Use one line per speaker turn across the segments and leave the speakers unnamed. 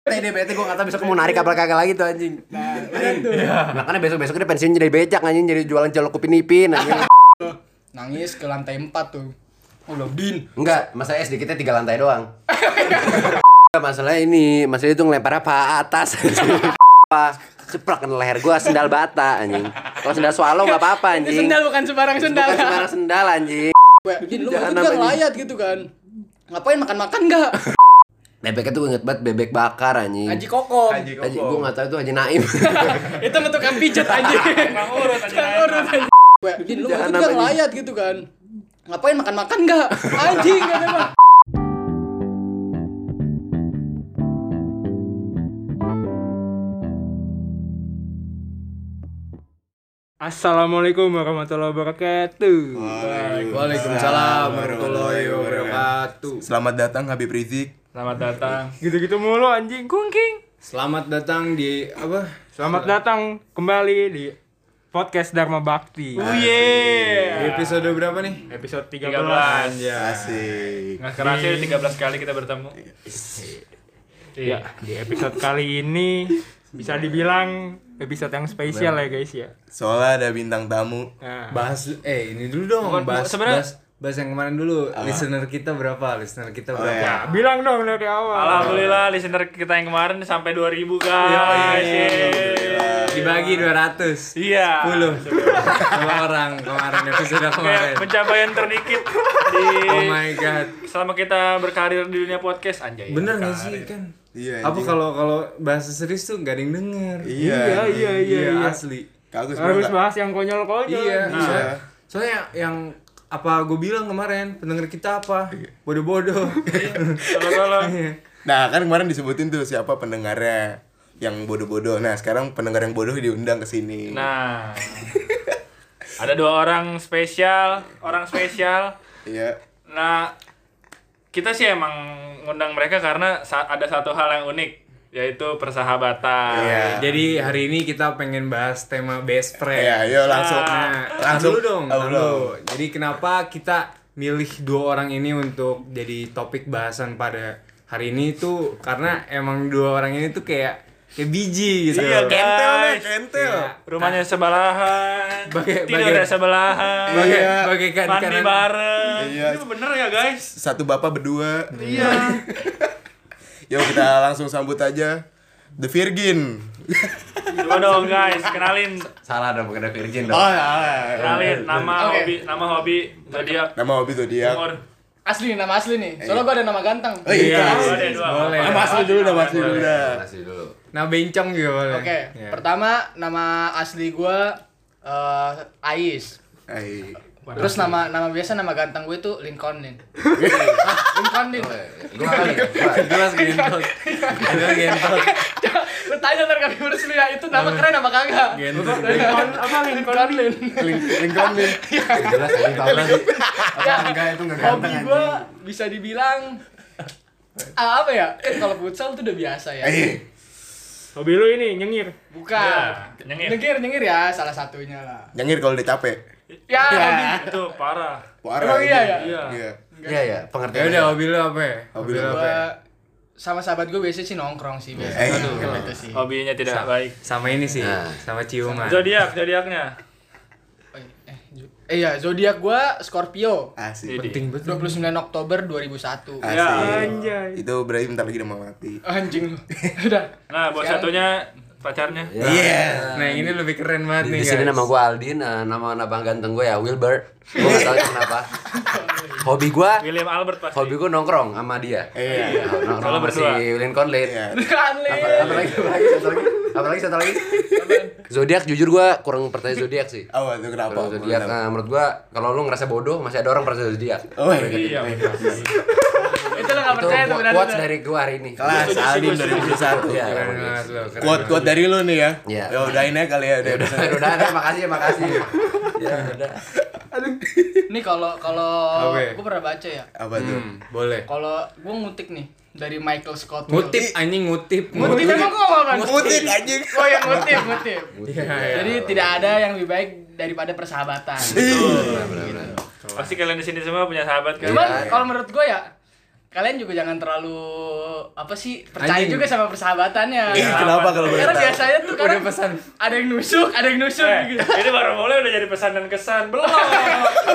bete deh bete gue gak tau besok mau narik apa kagak lagi tuh anjing makanya besok besok dia pensiun jadi becak anjing jadi jualan celok kupin ipin anjing
Nangis ke lantai 4 tuh. Oh, udah Din.
enggak masalahnya SD kita tiga lantai doang Enggak, masalahnya ini masalahnya itu ngelempar apa atas apa ceplak kena leher gua sendal bata anjing kalau sendal swallow nggak apa-apa
Itu
anjing
sendal bukan sembarang sendal.
bukan sembarang sendal anjing
Gue, Din lu
Jangan
waktu itu kan
namanya.
layat gitu kan. Ngapain makan-makan enggak?
bebeknya tuh inget banget bebek bakar anjing
Haji kokom.
Haji
Haji,
Koko.
gue gak tau itu Haji Naim
Itu bentukan pijet anjing.
Kurang urut aja.
Kan urut anjing.
Gue, Din lu waktu
Jangan
itu kan
namanya.
layat gitu kan. Ngapain makan-makan enggak? Anjing kata gua.
Assalamualaikum warahmatullahi wabarakatuh.
Waalaikumsalam warahmatullahi wabarakatuh.
Selamat datang Habib Rizik.
Selamat datang. Gitu-gitu mulu anjing kungking.
Selamat datang di apa?
Selamat datang kembali di podcast Dharma Bakti. Oh
iya. Di
Ya.
episode berapa nih?
Episode Iya. 13.
13
Asik.
Nggak kerasa udah 13 kali kita bertemu
Iya, di episode kali ini bisa dibilang episode yang spesial ya guys ya.
Soalnya ada bintang tamu.
Nah,
Bahas eh ini dulu dong.
Bukan, bu-
bahas,
sebenarnya-
bahas bahas yang kemarin dulu. Listener kita berapa? Listener kita
Ah. Oh,
berapa?
iya.
bilang dong dari awal.
Alhamdulillah listener kita yang kemarin sampai 2000
Yo,
guys
iya.
Yeay.
iya.
Dibagi 200.
Iya
10 dua orang kemarin episode
Kayak
kemarin.
pencapaian terdikit di
Oh my god.
selama kita berkarir di dunia podcast anjay
Bener gak sih kan?
Iya.
Apa
anjing.
kalau kalau bahasa serius tuh gak ada yang denger?
Iya.
Iya, iya, iya, iya.
asli.
Kagus
Harus
banget.
bahas yang konyol-konyol.
Iya.
Nah.
Soalnya, soalnya yang apa gue bilang kemarin pendengar kita apa
Iya.
bodoh-bodoh.
Tolong-tolong
Iya.
Nah, kan kemarin disebutin tuh siapa pendengarnya yang bodoh-bodoh. Nah, sekarang pendengar yang bodoh diundang ke sini.
Nah Ada dua orang spesial Orang spesial
Iya.
Nah Kita sih emang ngundang mereka karena sa- ada satu hal yang unik Yaitu persahabatan
Iya.
Jadi hari ini kita pengen bahas tema best friend.
Iya, ayo langsung.
Nah,
langsung
langsung dulu dong.
Oh,
tahan
belum.
dulu. Jadi kenapa kita milih dua orang ini untuk jadi topik bahasan pada hari ini tuh karena emang dua orang ini tuh kayak kayak biji gitu.
Iya, kayak-
Kentel deh,
Guys.
kentel.
Iya. Nah.
Rumahnya sebelahan,
Bagai-
tidurnya
bagai-
sebelahan,
Bagai-
Iya.
bagaikan
mandi
kanan-
bareng.
Iya.
Ini bener ya guys?
Satu bapak berdua.
Iya.
Yuk kita langsung sambut aja The Virgin.
Coba dong guys, kenalin,
salah dong bukan ada virgin
Oh,
dong
kenalin nama
Oke.
hobi, nama hobi zodiak,
Nama hobi tuh dia.
umur.
Asli nama asli nih. Soalnya gua ada nama ganteng.
Oh, iya. Nah,
Dua deh, dua.
Boleh.
Nama asli dulu, nama asli dulu dah.
kasih dulu
Nah, bencong juga boleh.
Oke,
Ya.
pertama nama asli gua eh, Ais.
Hai.
Terus nama nama biasa nama ganteng gue itu Lincoln Lin. Oh, iya. Lincoln Lin.
gue kali ya.
Jelas gentot. Jelas gentot.
Lu tanya ntar kami urus lu ya itu nama keren nama kagak.
Lincoln apa Lincoln?
Lincoln Lin.
Lincoln nih.
jelas anjing tau lah sih apa enggak itu enggak
Ya, Hobi
ganteng anjing.
gue bisa dibilang ah, apa ya? Eh, kalau futsal tuh udah biasa ya.
Hai.
Hobi lu ini nyengir.
Bukan.
Ya, nyengir.
nyengir. nyengir ya salah satunya lah.
Nyengir kalau udah capek.
Ya, hobi.
Itu parah.
Parah.
Emang iya ya?
Iya. Iya.
iya iya pengertian
Ya udah hobi lu apa ya?
Hobi lu
apa?
Gua
ya?
sama sahabat gue biasanya sih nongkrong sih biasanya.
Eh,
Aduh, Oh, itu sih.
Hobinya tidak baik.
Sama ini sih,
Nah.
sama ciuman.
Zodiak, zodiaknya.
Eh, eh, Ju- eh, iya, zodiak gua Scorpio.
Asik.
Jadi.
Penting banget.
29 Oktober 2001.
Asik.
Ya,
anjay.
Itu berarti bentar lagi udah mau mati.
Anjing lu. Udah.
Nah, buat
Sekarang-
satunya pacarnya.
Iya.
Nah, ini lebih keren banget
di
nih,
sini
guys.
nama gue Aldin eh, nama abang ganteng gue ya Wilbert gue nggak tahu kenapa hobi gue
William Albert pasti.
hobi gue nongkrong sama dia
Iya.
Nah, nongkrong
Kalau
sama si
berdua.
Wilin Conlin
Iya.
Kan,
apa,
Anlin.
apa lagi apa lagi satu lagi apa lagi satu lagi zodiak jujur gue kurang percaya zodiak sih
Awal tuh kenapa?
kalau zodiak nah, menurut gue kalau lu ngerasa bodoh masih ada orang percaya zodiak
Oh,
Iya.
Itu lo gak
itu
percaya tuh
kuat
benar.
quotes dari gue hari ini
Kelas Aldin 2021.
Iya,
Keren
emang
banget lu, keren
Kuat kuat dari lu nih ya.
Iya.
Ya udahin aja kali ya udah.
udah udah udah makasih makasih ya udah
Nih kalau kalau
Oke.
gua pernah baca ya.
Apa tuh?
Hmm, boleh.
Kalau gua ngutip nih dari Michael Scott.
Ngutip anjing ngutip.
Ngutip emang gua ngomong kan?
Ngutip anjing.
Gua yang ngutip, ngutip.
Iya, iya.
Jadi tidak ada yang lebih baik daripada persahabatan.
Ih.
Bener, bener, bener.
Iya.
Pasti kalian di sini semua punya sahabat kan?
Cuman kalau menurut gue ya kalian juga jangan terlalu apa sih percaya
Anjing.
juga sama persahabatannya.
Ih, kenapa kalau boleh
Karena
tahu?
biasanya tuh
Udah
kadang
pesan.
ada yang nusuk, ada yang nusuk
Eh,
gitu. oh,
ini baru mulai udah jadi pesan dan kesan belum.
Malam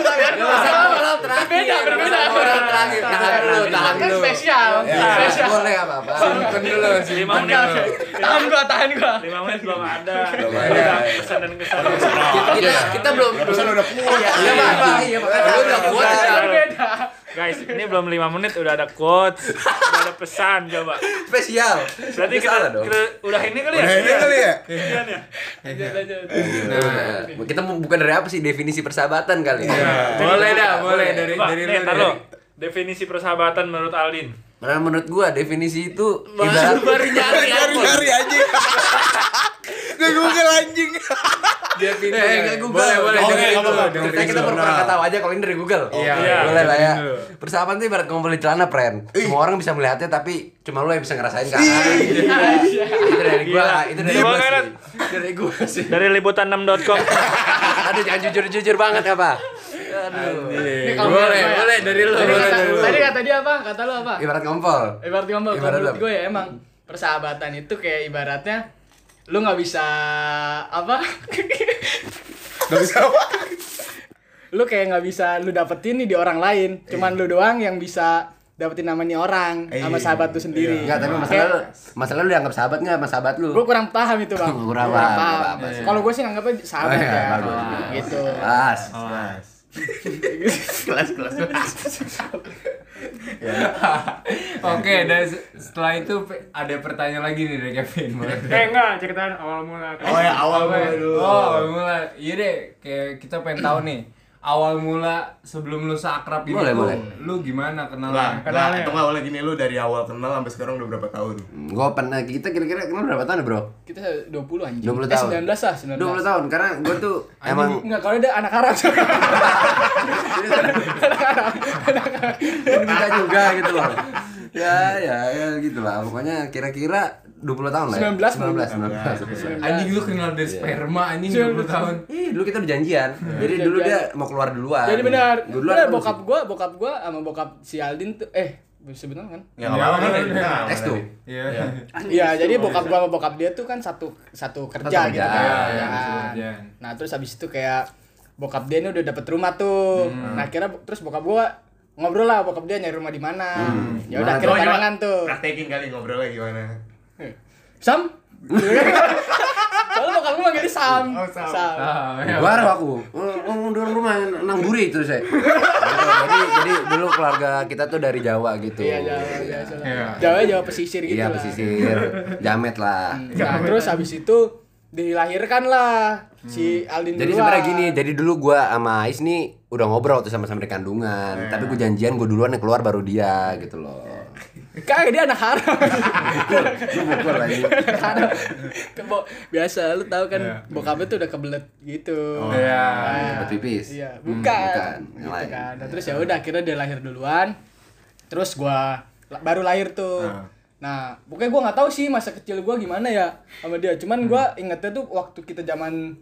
terakhir.
Berbeda, berbeda.
Malam terakhir. Tahan dulu, tahan
Kan
dulu.
spesial.
Ya,
Spesial.
boleh nggak apa-apa.
Simpen dulu,
Lima
simpen
menit.
dulu.
Tahan gua, tahan gua.
Lima menit belum ada.
Belum ada.
Pesan dan kesan.
Kita, kita belum.
Pesan udah puas.
Iya, Pak. Iya, Pak. Lu udah kuat.
Kan
Pak.
Berbeda.
Guys, ini belum lima menit udah ada quotes, udah ada pesan coba.
Spesial.
Berarti kita,
Salah dong.
kita udah ini kali ya?
Nah, ini kali ya?
Udahan ya?
Lanjut, lanjut.
Nah,
Kita mau bukan dari apa sih definisi persahabatan kali. ya?
boleh dah, boleh dari
Coba,
dari
nih,
lu,
ntar
dari-
lo. Definisi persahabatan menurut Aldin.
Karena Nah, menurut gua definisi itu ibarat
baru nyari
ya.
Nyari nyari anjing. Gue Google anjing.
Dia pindah.
Eh, nggak Google.
Boleh, boleh.
Oke,
dengerin
nggak
dulu,
apa-apa.
dengerin
Kita kita
dulu.
pernah kata aja kalau ini dari Google.
Iya,
iya.
boleh lah ya.
dengerin dulu.
Persahabatan itu ibarat ngumpulin celana, friend. Semua orang bisa melihatnya tapi cuma lu yang bisa ngerasain kan. itu dari gua, itu dari
Gila.
gua.
Gila.
sih. Dari gua sih.
Dari liputan6.com.
Aduh jangan jujur-jujur banget apa.
Iya,
Ini kalau
Boleh,
nggak,
boleh dari lu,
Tadi
boleh
kata-
dari lu.
Tadi kata dia apa? Kata lu apa?
Ibarat ngompol.
Ibarat ngomong kalau
Ibarat
menurut
apa?
gue ya emang persahabatan itu kayak ibaratnya lu nggak bisa apa
Gak bisa apa.
lu kayak nggak bisa lu dapetin nih di orang lain
Iya.
cuman lu doang yang bisa dapetin namanya orang sama sahabat lu sendiri
Enggak, Iya. tapi masalah lu, masalah lu dianggap sahabat enggak sama sahabat lu?
gue kurang paham itu bang
Kurang paham, nggak apa-apa sih.
kalau gue sih nganggapnya sahabat
Oh, iya,
ya
bagus.
gitu
Pas.
Oke, dan se- setelah itu pe- ada pertanyaan lagi nih dari Kevin. boleh.
Eh enggak, ceritain awal mula.
Oh ya awal
Oke.
mulai dulu.
Oh, awal mula. Iya deh, kayak kita pengen tahu nih. Awal mula sebelum lu seakrab ini
Boleh,
tuh,
boleh.
lu gimana
Lah,
kenalnya?
lah,
Kenalnya.
atau nggak boleh gini lu dari awal kenal sampai sekarang udah berapa tahun?
Gua pernah kita kira-kira kenal berapa tahun, Bro?
kita 20 anjing
20
eh 19
tahun.
lah 19
20 tahun karena gua tuh emang
Emang enggak kalau dia anak haram.
kita juga gitu loh. Ya, ya, ya gitu lah. Pokoknya kira-kira 20 tahun lah. ya?
19, Iya.
19. 19.
Anjing lu kenal dari sperma anjing 20 tahun.
Ih, dulu kita udah janjian. Jadi dulu dia mau keluar duluan.
Iya. Jadi benar.
Gua duluan
Benar
apa lu
bokap
sih?
gua, bokap gua sama bokap si Aldin tuh eh sebetulnya kan.
Ya nggak apa-apa kan.
Next tuh.
Iya.
Iya, jadi bokap gua sama bokap dia tuh kan satu satu kerja
Satu
gitu
kerjaan,
kan.
iya, satu kerjaan.
Nah, terus habis itu kayak bokap dia ini udah dapet rumah tuh. Nah, kira terus bokap gua ngobrol lah bokap dia nyari rumah di mana. Ya udah
Gimana
kira
tuh?
pandangan tuh.
Praktekin kali ngobrolnya gimana?
Sam. Soalnya bokap gua manggilnya Sam. Sam.
Ah, iya.
Baru aku, oh, dorong rumah nang buri terus saya. Gitu, jadi, jadi dulu keluarga kita tuh dari Jawa gitu.
Iya, Jawa, Jawa,
Iya.
Jawa. Jawa, Jawa pesisir gitu
Iya
lah.
pesisir, jamet lah.
Nah, terus habis itu dilahirkan lah si Aldin
Jadi
duluan.
sebenarnya gini, jadi dulu gua sama Ais nih udah ngobrol tuh sama-sama di
Iya.
kandungan, tapi gue janjian gue duluan yang keluar baru dia gitu loh.
Kagak dia anak haram.
Lu mukul lagi.
Anak haram. Kebo- biasa lu tahu kan bokapnya tuh udah kebelet gitu.
Iya.
Buat pipis.
Iya,
Hmm,
bukan.
bukan. Yang
Gitu
lain. Iya.
kan. Nah, terus ya udah akhirnya dia lahir duluan. Terus gua la- baru lahir tuh. Nah, pokoknya gua nggak tahu sih masa kecil gua gimana ya sama dia. Cuman gua ingetnya tuh waktu kita zaman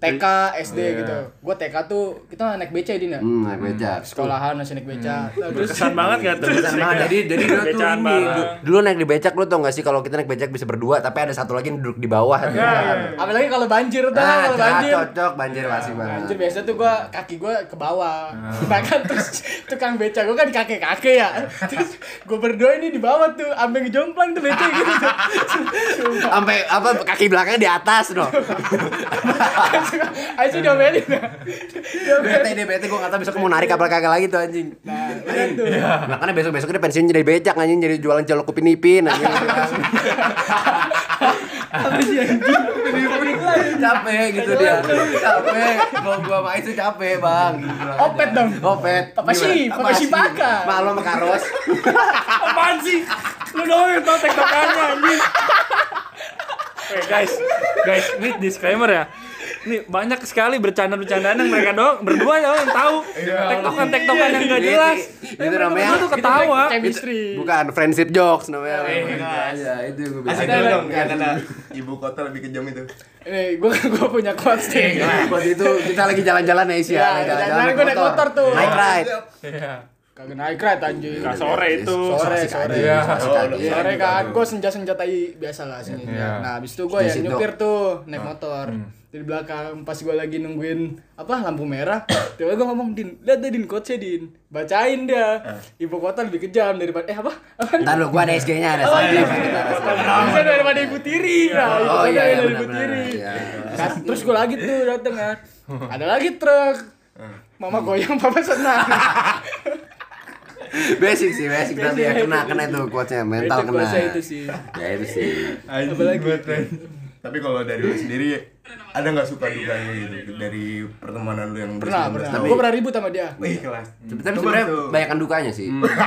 TK, SD gitu. Gua TK tuh kita naik beca Din ya.
Hmm, naik beca.
Sekolahan masih naik beca. Nah, terus
Kesan banget gak tuh?
Becak banget. Jadi jadi dulu tuh
Becaan
ini
bareng.
du- dulu naik di becak lu tau gak sih kalau kita naik becak bisa berdua tapi ada satu lagi yang duduk di bawah. gitu kan.
apalagi kalau banjir tuh,
Ah,
kalau Iya. banjir. Iya,
cocok banjir masih banget.
Banjir biasa tuh gua kaki gua ke bawah. Bahkan terus tukang beca gua kan kakek-kakek ya. Terus gua berdua ini di bawah tuh, ambil ngejomplang tuh beca gitu. tuh.
sampai apa kaki belakangnya di atas no
Ayo sih diomelin. ya.
bete deh bete gue nggak tahu besok mau narik apa kagak lagi tuh anjing
Nah, udah tuh.
makanya besok besok dia pensiun jadi becak anjing jadi jualan celok kupin ipin anjing
Apa sih anjing?
capek gitu dia capek kalau gua main tuh capek bang Gitu aja.
Opet dong.
opet
Papa
Gimana?
sih, Papa sih bakal.
malu sama karos
Apaan sih? Lu doang yang tau tektokannya anjing. Oke Eh, guys, guys, ini disclaimer ya. Ini banyak sekali bercanda-bercandaan yang mereka doang berdua ya yang tahu. Tektokan tektokan yang gak jelas.
Iya, Itu- itu namanya-
Lu tuh ketawa.
Chemistry.
bukan friendship jokes namanya ya
Eh,
itu yang gua bilang.
Asik dulu dong, nggak kena ibu kota lebih kejam itu.
Nih, Eh, gua gua punya quotes nih.
Nah, Buat itu kita lagi jalan-jalan ya
Ya,
Asia, lagi iya.
jalan-jalan gua naik motor tuh.
Night ride.
Iya.
Kagak naik ride anjing.
Nah, sore itu.
Sore,
Asik
sore.
anjing,
Iya.
asik anjing.
Sore kan, gue senja-senjatai biasa lah sini. Nah, habis itu gue ya
gitu, Iya. Di situ. Hmm.
nyupir tuh naik motor. Di belakang pas gue lagi nungguin apa lampu merah, tiba-tiba gue ngomong Din, lihat deh Din coachnya Din, bacain dia.
Hmm.
Ibu kota lebih kejam daripada eh apa? Apa?
Ntar lu gua ada SG-nya ada.
Oh,
soalnya.
iya.
Bentar, ada soalnya.
Bisa daripada ibu tiri, nah, ibu
Oh
kota
iya, iya
daripada ibu
benar-benar.
tiri.
Iya. Hmm.
Kan, terus gue lagi tuh dateng kan, ada lagi truk. Mama goyang, papa senang.
Basic sih, basic tapi ya kena kena itu quotes-nya, mental
Itu
kena.
quotes-nya itu sih.
Ya itu sih.
Apalagi Tapi kalau dari lu sendiri ada nggak suka dukanya gitu dari pertemanan lu yang
Iya,
pernah
bersenang-
pernah
tapi-
gue Nah, pernah ribut sama dia
Wih kelas.
Tapi sebenarnya banyakan dukanya sih. Iya.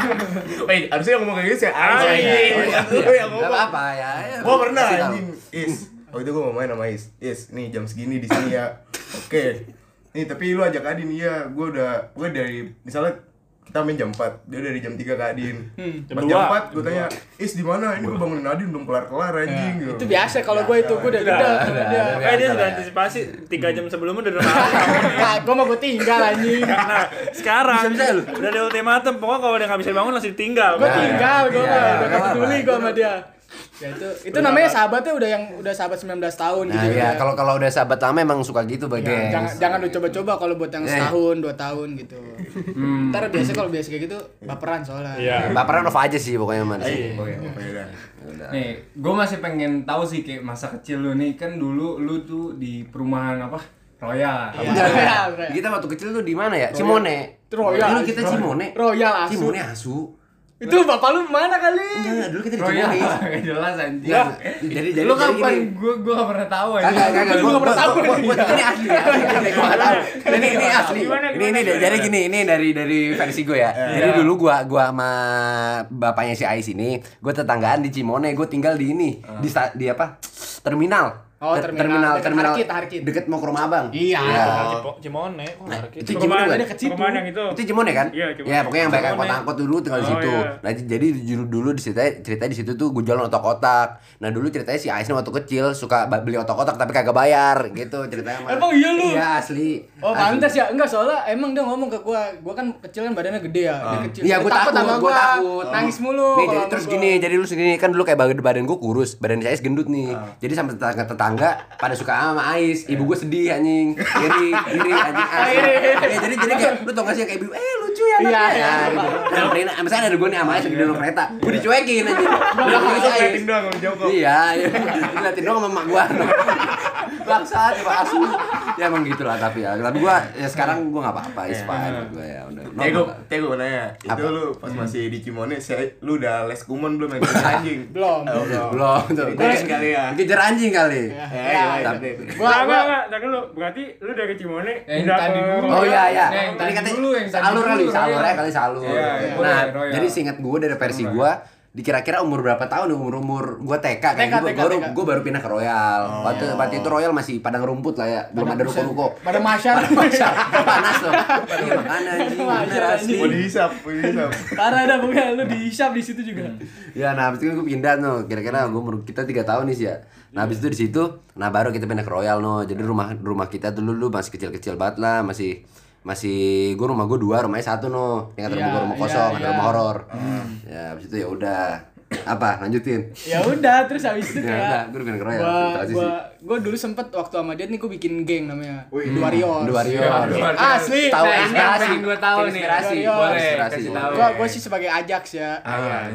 Wih, harusnya yang ngomong kayak gitu sih. Anjing. Lu yang
Gak
Oh, iya, ngomong.
apa-apa ya. ya,
Gua pernah
kasih tahu.
anjing. Is. Oh itu gua mau main sama Is. Is, nih jam segini di sini ya. Oke. Nih, tapi lu ajak Adin iya. Gua udah gua dari misalnya kita main jam 4, dia dari jam 3 ke Adin.
Hmm.
Pas jam
dua.
4 gua tanya, "Is di mana? Ini gua bangunin Adin belum kelar-kelar anjing." Gitu.
Eh, itu biasa kalau gue itu gue
Iya,
udah beda sama dia
Makanya eh, dia sudah antisipasi tiga jam sebelumnya udah nolak.
gue mau gue tinggal anjing
Karena
Iya,
sekarang udah ada ultimatum, pokoknya kalau dia nggak bisa bangun langsung ditinggal.
gue tinggal gue
Iya,
mah udah
nggak
gak peduli
apa-apa.
gue sama dia ya itu itu namanya sahabatnya udah yang udah sahabat 19 tahun
Nah
gitu
ya,
ya.
kalau kalau udah sahabat lama emang suka gitu bagi.
Ya, jangan jangan lu coba-coba kalau buat yang
Eh. Hmm.
setahun dua tahun gitu ntar biasa kalau biasa kayak gitu baperan soalnya
Iya.
Baperan off aja sih pokoknya mana sih.
Oke, oke Iya, udah.
Nih, gue masih pengen tahu sih kayak masa kecil lu nih kan dulu lu tuh di perumahan apa Royal.
Iya, iya, iya.
Kita waktu kecil tuh di mana ya? Cimone.
Royal.
Dulu kita Cimone.
Royal asu.
Cimone asu.
itu bapak lu mana kali
Enggak, dulu kita di
Royal
Cimone.
gak jelas anjing.
Enggak. gitu. Jadi jadi
lu
jadi
kapan?
gini.
Gue gue gak pernah tahu anjing.
Kagak, kagak.
Lu
Gua
nggak pernah tahu
gua- gua- gua- Ini asli. asli. Gua nggak tahu. Ini ini asli.
Gimana,
Ini ini
gimana?
dari gini, ini dari dari versi gue ya. Jadi dulu gua gua sama bapaknya si Ais ini, gua tetanggaan di Cimone, gua tinggal di ini, di sta- di apa? Terminal.
Oh,
Ter-
terminal.
terminal,
Dekat
terminal
Harkit, Harkit.
deket mau ke rumah abang.
Iya.
Ya.
Cipo- Cimone, kok Harkit?
itu
Perumahan-
Cimone, Bang.
ada kecil perumahan yang itu.
Itu Cimone kan?
Iya, Cimone.
Ya, pokoknya yang banyak
Cimone.
angkot-angkot dulu tinggal di
Oh,
situ.
iya.
Nah, j- jadi dulu dulu di cerita cerita di situ tuh gue jualan otak-otak. Nah, dulu ceritanya si Ais nih waktu kecil suka ba- beli otak-otak tapi kagak bayar gitu ceritanya. Mas.
Emang iya lu?
Iya, asli.
Oh
Asli.
pantas ya, enggak soalnya emang dia ngomong ke gua, gua kan kecil kan badannya gede ya, dia kecil.
Iya,
Dia
gue takut,
sama
gue takut.
nangis mulu.
Nih,
kalau
jadi
sama
terus
gua.
gini, jadi lu segini kan dulu kayak badan badan gue kurus, badan si Ais gendut nih.
Ah.
Jadi sampai tetangga-tetangga pada suka sama Ais, ibu gue sedih anjing. Iri, iri anjing asli. Ya, jadi jadi kayak lu tau gak sih yang kayak ibu, eh lucu ya anaknya.
Iya,
Iya,
iya.
gitu. Nah, Prina- misalnya ada gue nih sama Ais lagi di dalam kereta, gue dicuekin anjing. Udah gue si Ais.
Ngeliatin doang, jauh kok.
Iya, iya. Ngeliatin doang sama emak gue. Bangsa, coba asu. Ya emang gitu lah tapi ya. Tapi gue ya sekarang gue gak apa-apa,
Iya.
is fine gue ya udah. No,
Tego,
no, no.
Tego mau nanya. Itu
Apa?
lu pas masih di Cimone, saya- lu udah les kumon belum main anjing?
Belum.
Oh, belum.
Belum tuh.
kan
Ceritain kali ya.
Kejar anjing kali.
Iya.
Eh, ya,
Tapi-
itu.
Gua gua
Enggak, enggak, enggak. Tadi lu berarti lu dari Cimone
Yang
pindah
tadi
ke-
dulu.
Oh iya iya.
Nah, yang
Tadi
tadi
katanya
dulu, yang tadi
salur kali,
dulu,
salur
Royal.
ya kali salur.
Iya, iya.
Nah,
Royal.
jadi singkat gue dari versi gue dikira-kira umur berapa tahun umur-umur gue TK kan
TK,
gue
TK.
baru gue baru pindah ke
Oh,
Royal. Waktu
iya.
waktu itu Royal masih padang rumput lah ya, belum ada ruko-ruko.
pada masyarakat.
Panas loh. Iya, Makan anjing,
Wajar,
bener asli.
Mau dihisap, mau dihisap.
Parah dah pokoknya
Nah.
lu dihisap di situ juga.
Ya, nah habis itu gue pindah no, kira-kira
Hmm.
gue umur kita tiga tahun nih sih ya. Nah habis itu
Iya.
di situ, nah baru kita pindah ke Royal no. Jadi rumah rumah kita dulu dulu masih kecil-kecil banget lah, masih masih gue rumah gue dua, rumahnya satu no. Yang
Iya,
kata rumah gue rumah
iya,
kosong, ada
iya.
rumah horor. Ya habis itu ya udah apa lanjutin.
Ya udah, terus habis itu
Ya
kayak
udah, gue udah pindah ke Royal.
gua
transisi.
gua gua dulu sempet waktu sama dia nih gua bikin geng namanya The Warriors. Iya. Ah,
The Warriors.
Asli.
Tahu ya,
Nah, ini yang
inspirasi.
pengen gua tahu nih.
Inspirasi.
Warriors.
Boleh,
Kasih
inspirasi.
tahu. Ah, iya.
Gua gua sih sebagai Ajax ya.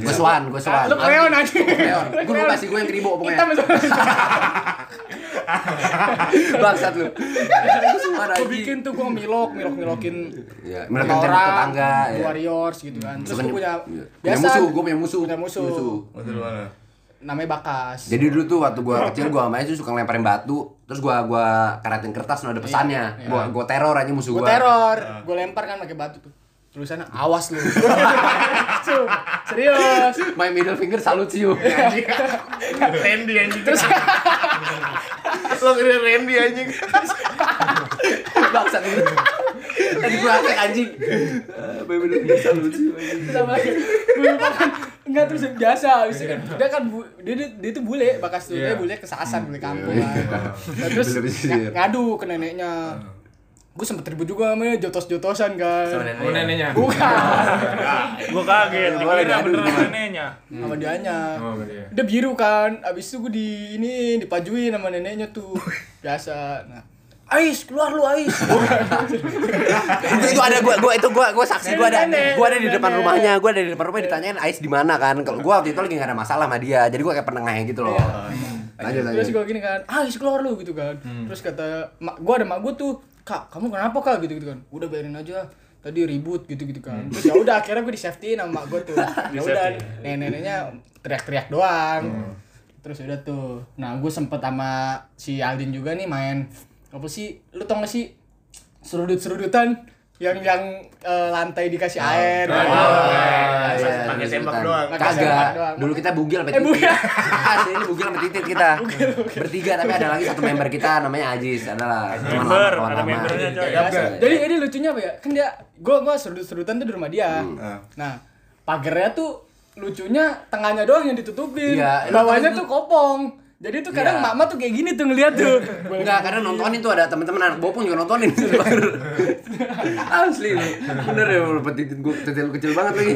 Gue suan, gue suan.
Lu kreon aja.
Gue lupa sih gue yang kribo
Kita
pokoknya.
misalnya
Bangsat lu. Suan
gua
anjing.
bikin tuh gua milok, milok-milokin
Ya,
Sama
menekan
orang,
tetangga ya.
warriors gitu kan terus
Bukan-
gue punya
iya. Punya
biasa
musuh, gue punya musuh.
Punya musuh.
Waktu lu mana?
namanya bakas
Jadi dulu tuh waktu gua kecil gua main tuh suka ngelemparin batu, terus gua gua karatin kertas no ada pesannya. Gua gua teror aja
gue
musuh gua.
Iya, teror gue lempar kan pakai batu tuh tulisannya awas lu Sumpah, serius
My middle finger salute you.
Iya,
Randy anjing. Terus lo kira Randy Iya, anjing.
Bangsat ini. Tadi gua angkat anjing. Ah, My middle finger salute you.
terus apa lagi gue lupa kan enggak terus biasa habis itu kan
Iya.
dia kan bu, dia, dia, dia tuh bule bakas tuh dia bule kesasar bule kampung kan. Nah, terus
Bener Iya. sih.
ng- ngadu ke neneknya gue sempet ribut juga sama dia, jotos-jotosan
Sama
Iya.
kan.
Oh,
neneknya.
neneknya.
Bukan,
Gua kaget.
Gua
Gua
lagi
beneran
adu.
neneknya.
sama dianya.
Oh, iya.
Dia biru kan, abis itu gue di ini dipajuin sama neneknya tuh biasa. Nah, Ais, keluar lu Ais.
itu, itu ada gua gua itu gua gua saksi gua ada
Nenek,
gua ada di depan
nenek.
rumahnya gua ada di depan rumahnya ditanyain Ais di mana kan kalau gua waktu itu lagi gak ada masalah sama dia jadi gua kayak penengahnya gitu loh lanjut lanjut
Iya. Terus gue gini kan, Ais keluar lu gitu kan. Terus kata mak gue ada mak gue tuh, Kak, kamu kenapa kak gitu gitu kan? Udah biarin aja tadi ribut gitu gitu kan terus ya udah akhirnya gue di safety sama mak gue tuh ya udah nenek-neneknya teriak-teriak doang terus udah tuh nah gue sempet sama si Aldin juga nih main apa sih lu tau gak sih serudut-serudutan yang yang eh, lantai dikasih air
Ah, iya, ada
Pakai tembak
sebutan.
doang.
Pakai
kagak
tembak doang.
dulu kita bugil sama
Eh, bugil.
Asli, ini bugil sama titit kita bertiga tapi ada lagi satu member kita namanya Ajis adalah teman lama
Member,
kawan
ada
lama Iya,
membernya coy.
Gagap gak?
Iya, Jadi jadi lucunya apa ya? Kan dia gua gua sudut-sudutan tuh di rumah dia.
Ah.
Nah, pagernya tuh lucunya tengahnya doang yang ditutupin.
Iya,
Bawahnya
lu-
tuh kopong. Jadi tuh kadang
Iya.
mama tuh kayak gini tuh ngeliat tuh.
Enggak, karena nontonin tuh ada teman-teman anak bopong juga nontonin Asli lu. Bener ya, lu petitin gua petitin lu kecil banget lagi.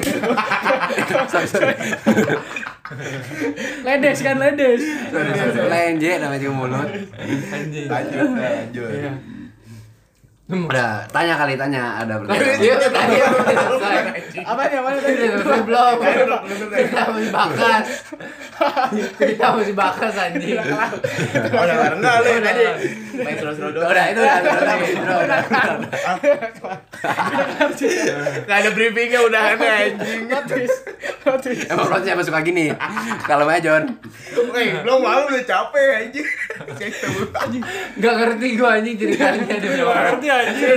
Sorry, sorry.
ledes kan ledes.
Sorry, sorry. Lenje namanya juga mulut.
Lanjut, ah, lanjut.
Iya.
Udah, tanya kali tanya ada pertanyaan.
Iya, tadi ya, belum selesai.
Iya.
Apa ya? Mana tadi?
Belum. Kita masih bakas. Kita masih bakas anjing.
Oh, udah kelar. Enggak, lu tadi. Main seru-seru
Udah, itu udah, udah, udah, udah, udah.
Gak ada briefingnya udah ada anjing.
Plot twist. Plot twist.
Emang Ron siapa suka gini? Kalau aja John.
Eh, belum malu udah capek anjing. Cek tuh.
Gak ngerti gue anjing ceritanya dia
Gua
bilang.
ngerti anjir.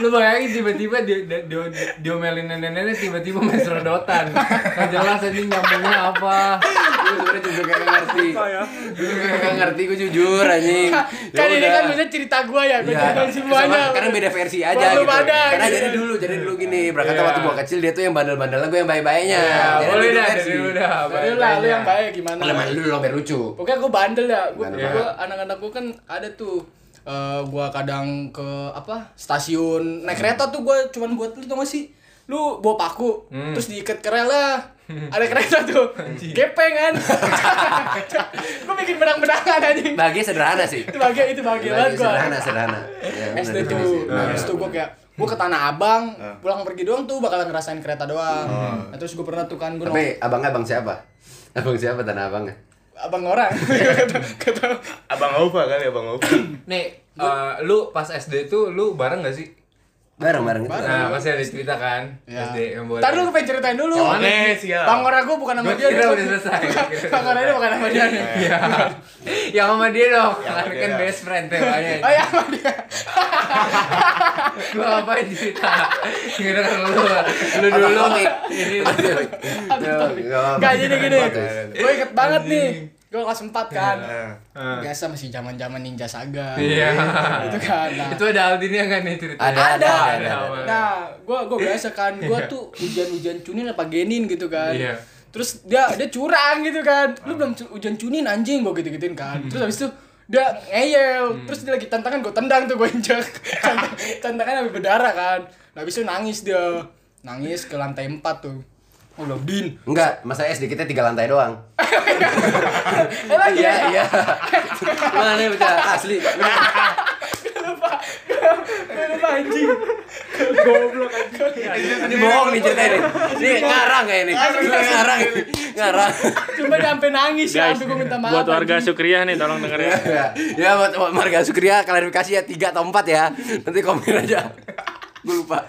Lu bayangin tiba-tiba dia dia dia, diomelin nenek-nenek tiba-tiba main serodotan. Gak jelas anjing nyambungnya apa.
Gue sebenernya juga kayak ngerti.
ya?
Gue kayak ngerti, gue jujur anjing. Ya
Kan ini
Yaudah.
kan biasanya cerita gua ya, gua
Iya,
ceritain semuanya.
sama- Karena beda versi aja
Belum
gitu.
ada,
Karena
gitu.
jadi dulu, jadi dulu gini. Berangkat
Iya.
waktu gua kecil dia tuh yang bandel-bandelnya gue yang baik-baiknya.
Ya,
Jadi
boleh
beda
dah
versi.
dari lu dah.
Iya,
Tapi lah lu yang
baik-baiknya.
baik gimana?
Kalau main dulu lo biar lucu.
Pokoknya gue bandel ya, gue
Bandel
gua anak-anak gue kan ada tuh eh gue kadang ke apa stasiun
Hmm.
naik kereta tuh gue cuman buat lu tau gak sih lu bawa paku terus diikat ke rel lah ada kereta tuh gepeng kan gue bikin benang-benangan anjing
Bahagia sederhana sih.
itu bahagia itu bahagia banget
Bahagia
gue
Nah. sederhana, sederhana. Nah. Ya, bener
SD
juga sih.
tuh nah, terus tuh gue kayak gue ke Tanah Abang pulang pergi doang tuh bakalan ngerasain kereta doang nah, terus gue pernah tuh kan gue
Hmm. Tapi abangnya abang siapa? Abang ya? siapa tanah abangnya?
abang orang Kata-
Abang Opa kali, Abang Opa.
Nih, eh, lu pas SD tuh lu bareng gak sih?
Bareng-bareng gitu.
Nah, pasti ada cerita kan
Ya.
SD yang buat.
Ntar lu pengen ceritain dulu.
Yang mana
sih, ya?
Bang Ora gua bukan nama
Gua
dia. nih.
kira udah selesai.
Bang Ora ini bukan nama dia nih.
Iya. yang Ya, sama dia dong.
Ya,
Yang sama
Kan
dia.
best friend temanya.
Oh iya sama dia.
Gua ngapain cerita? Gimana kan lu? Lu dulu.
Topik.
Ini
Gak jadi gini.
Bagus.
Gue inget banget nih. Gue kelas 4 kan.
Nah,
Biasa masih zaman-zaman Ninja Saga.
Iya.
Itu kan. Nah,
Itu ada Aldinnya kan nih ceritanya?
Ada,
ada,
ada, ada.
Nah, gua gua biasa kan, gua tuh hujan-hujan cunin apa genin gitu kan.
Iya.
Terus dia dia curang gitu kan. Lu belum cu- hujan cunin anjing gua gitu-gituin kan. Terus habis itu dia ngeyel, terus dia lagi tantangan gua tendang tuh gua injak. Tant- tantangan habis berdarah kan. Nah, habis itu nangis dia. Nangis ke lantai 4 tuh. Oh, belum din.
Enggak, masa SD kita tiga lantai doang.
Eh lagi ya.
Iya, iya. Mana bocah asli.
Gua lupa anjing. Goblok anjing.
Ini bohong nih ceritanya nih. Ini ngarang kayak ini. Ngarang. ini. Ngarang.
Cuma dia sampai nangis ya,
Guys,
sampai gua minta maaf.
buat warga
anjing.
Sukriah nih tolong dengerin.
ya, ya buat, buat marga Sukria klarifikasi ya 3 atau 4 ya. Nanti komen aja. Gue lupa.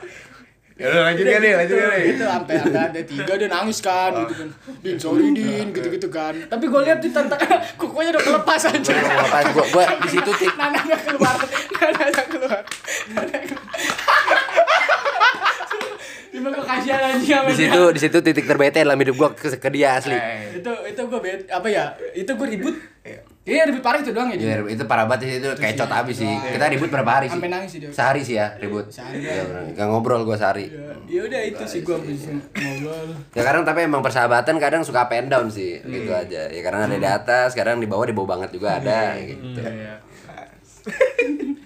ya udah lanjut ya nih, lanjut ya nih.
gitu. itu sampai sampai ada tiga dia nangis kan gitu kan din sorry din gitu gitu kan tapi gue lihat di tantangan kukunya udah kelepas aja
Apa gua gua di situ tik.
nananya keluar nananya keluar Nananya keluar. cuma gue kasihan aja sama
Di
dia
situ di situ titik terbete dalam hidup gua ke, ke dia asli.
itu itu gue bet apa ya itu gue ribut iya ribut parah itu doang ya
Ya,
Din?
itu parah banget sih itu kecot habis sih. Kita ribut berapa hari sih?
Sampai nangis sih dia.
Sehari sih ya ribut.
Sehari.
Iya, bener. Nggak ngobrol gua sehari.
ya udah itu sih gue ngobrol
Ya kadang tapi emang persahabatan kadang suka up and down sih, gitu aja. Ya kadang ada di atas, kadang di bawah di bawah banget juga ada gitu.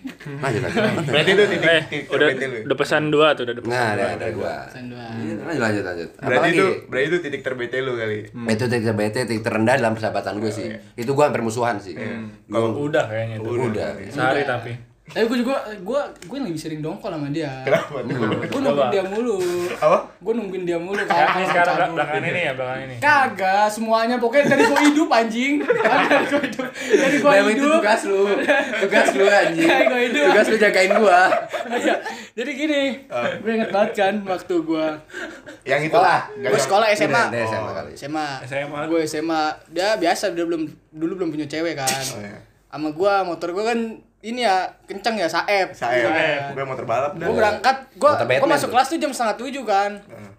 Lanjut lanjut.
Berarti itu titik
Eh,
titik
udah,
terbentil lu.
udah pesan dua tuh, udah, udah pesan
Nah, ada
dua.
ada gua.
Pesan dua.
Lanjut lanjut lanjut.
Berarti
Apalagi
itu berarti itu titik terbetil lu kali.
Hmm.
itu titik terbete, titik terendah dalam persahabatan gue sih. Itu gue hampir musuhan sih. Hmm. Gua-
Udah kayaknya itu.
udah.
Sehari tapi.
Tapi gue juga, gue gue lebih sering dongkol sama dia.
Kenapa tuh?
Gue nungguin dia mulu.
Apa?
Gue nungguin dia mulu. kan,
Sekarang
Kalau
ini sekarang
cabut.
belakangan ini ya, belakangan ini.
Kagak, semuanya pokoknya dari gua hidup anjing. Dari gua hidup. Dari gua
Memang itu
hidup.
tugas lu. Tugas lu anjing.
Kayak gua hidup.
Tugas lu jagain gua.
Iya. Jadi gini,
Ah.
gue inget banget kan waktu gua
Yang itu.
Sekolah. ya.
gue
Nggak yang-
sekolah
Ini
SMA.
ada SMA kali.
SMA.
SMA.
Gue SMA. Dia biasa dia belum dulu belum punya cewek kan.
Oh, iya.
Sama gua motor gua kan ini ya kenceng ya saep.
Saya bukan motor balap dah.
Gue berangkat, gue
Motor Batman
masuk
tuh.
kelas tuh jam setengah tujuh kan.
Ah.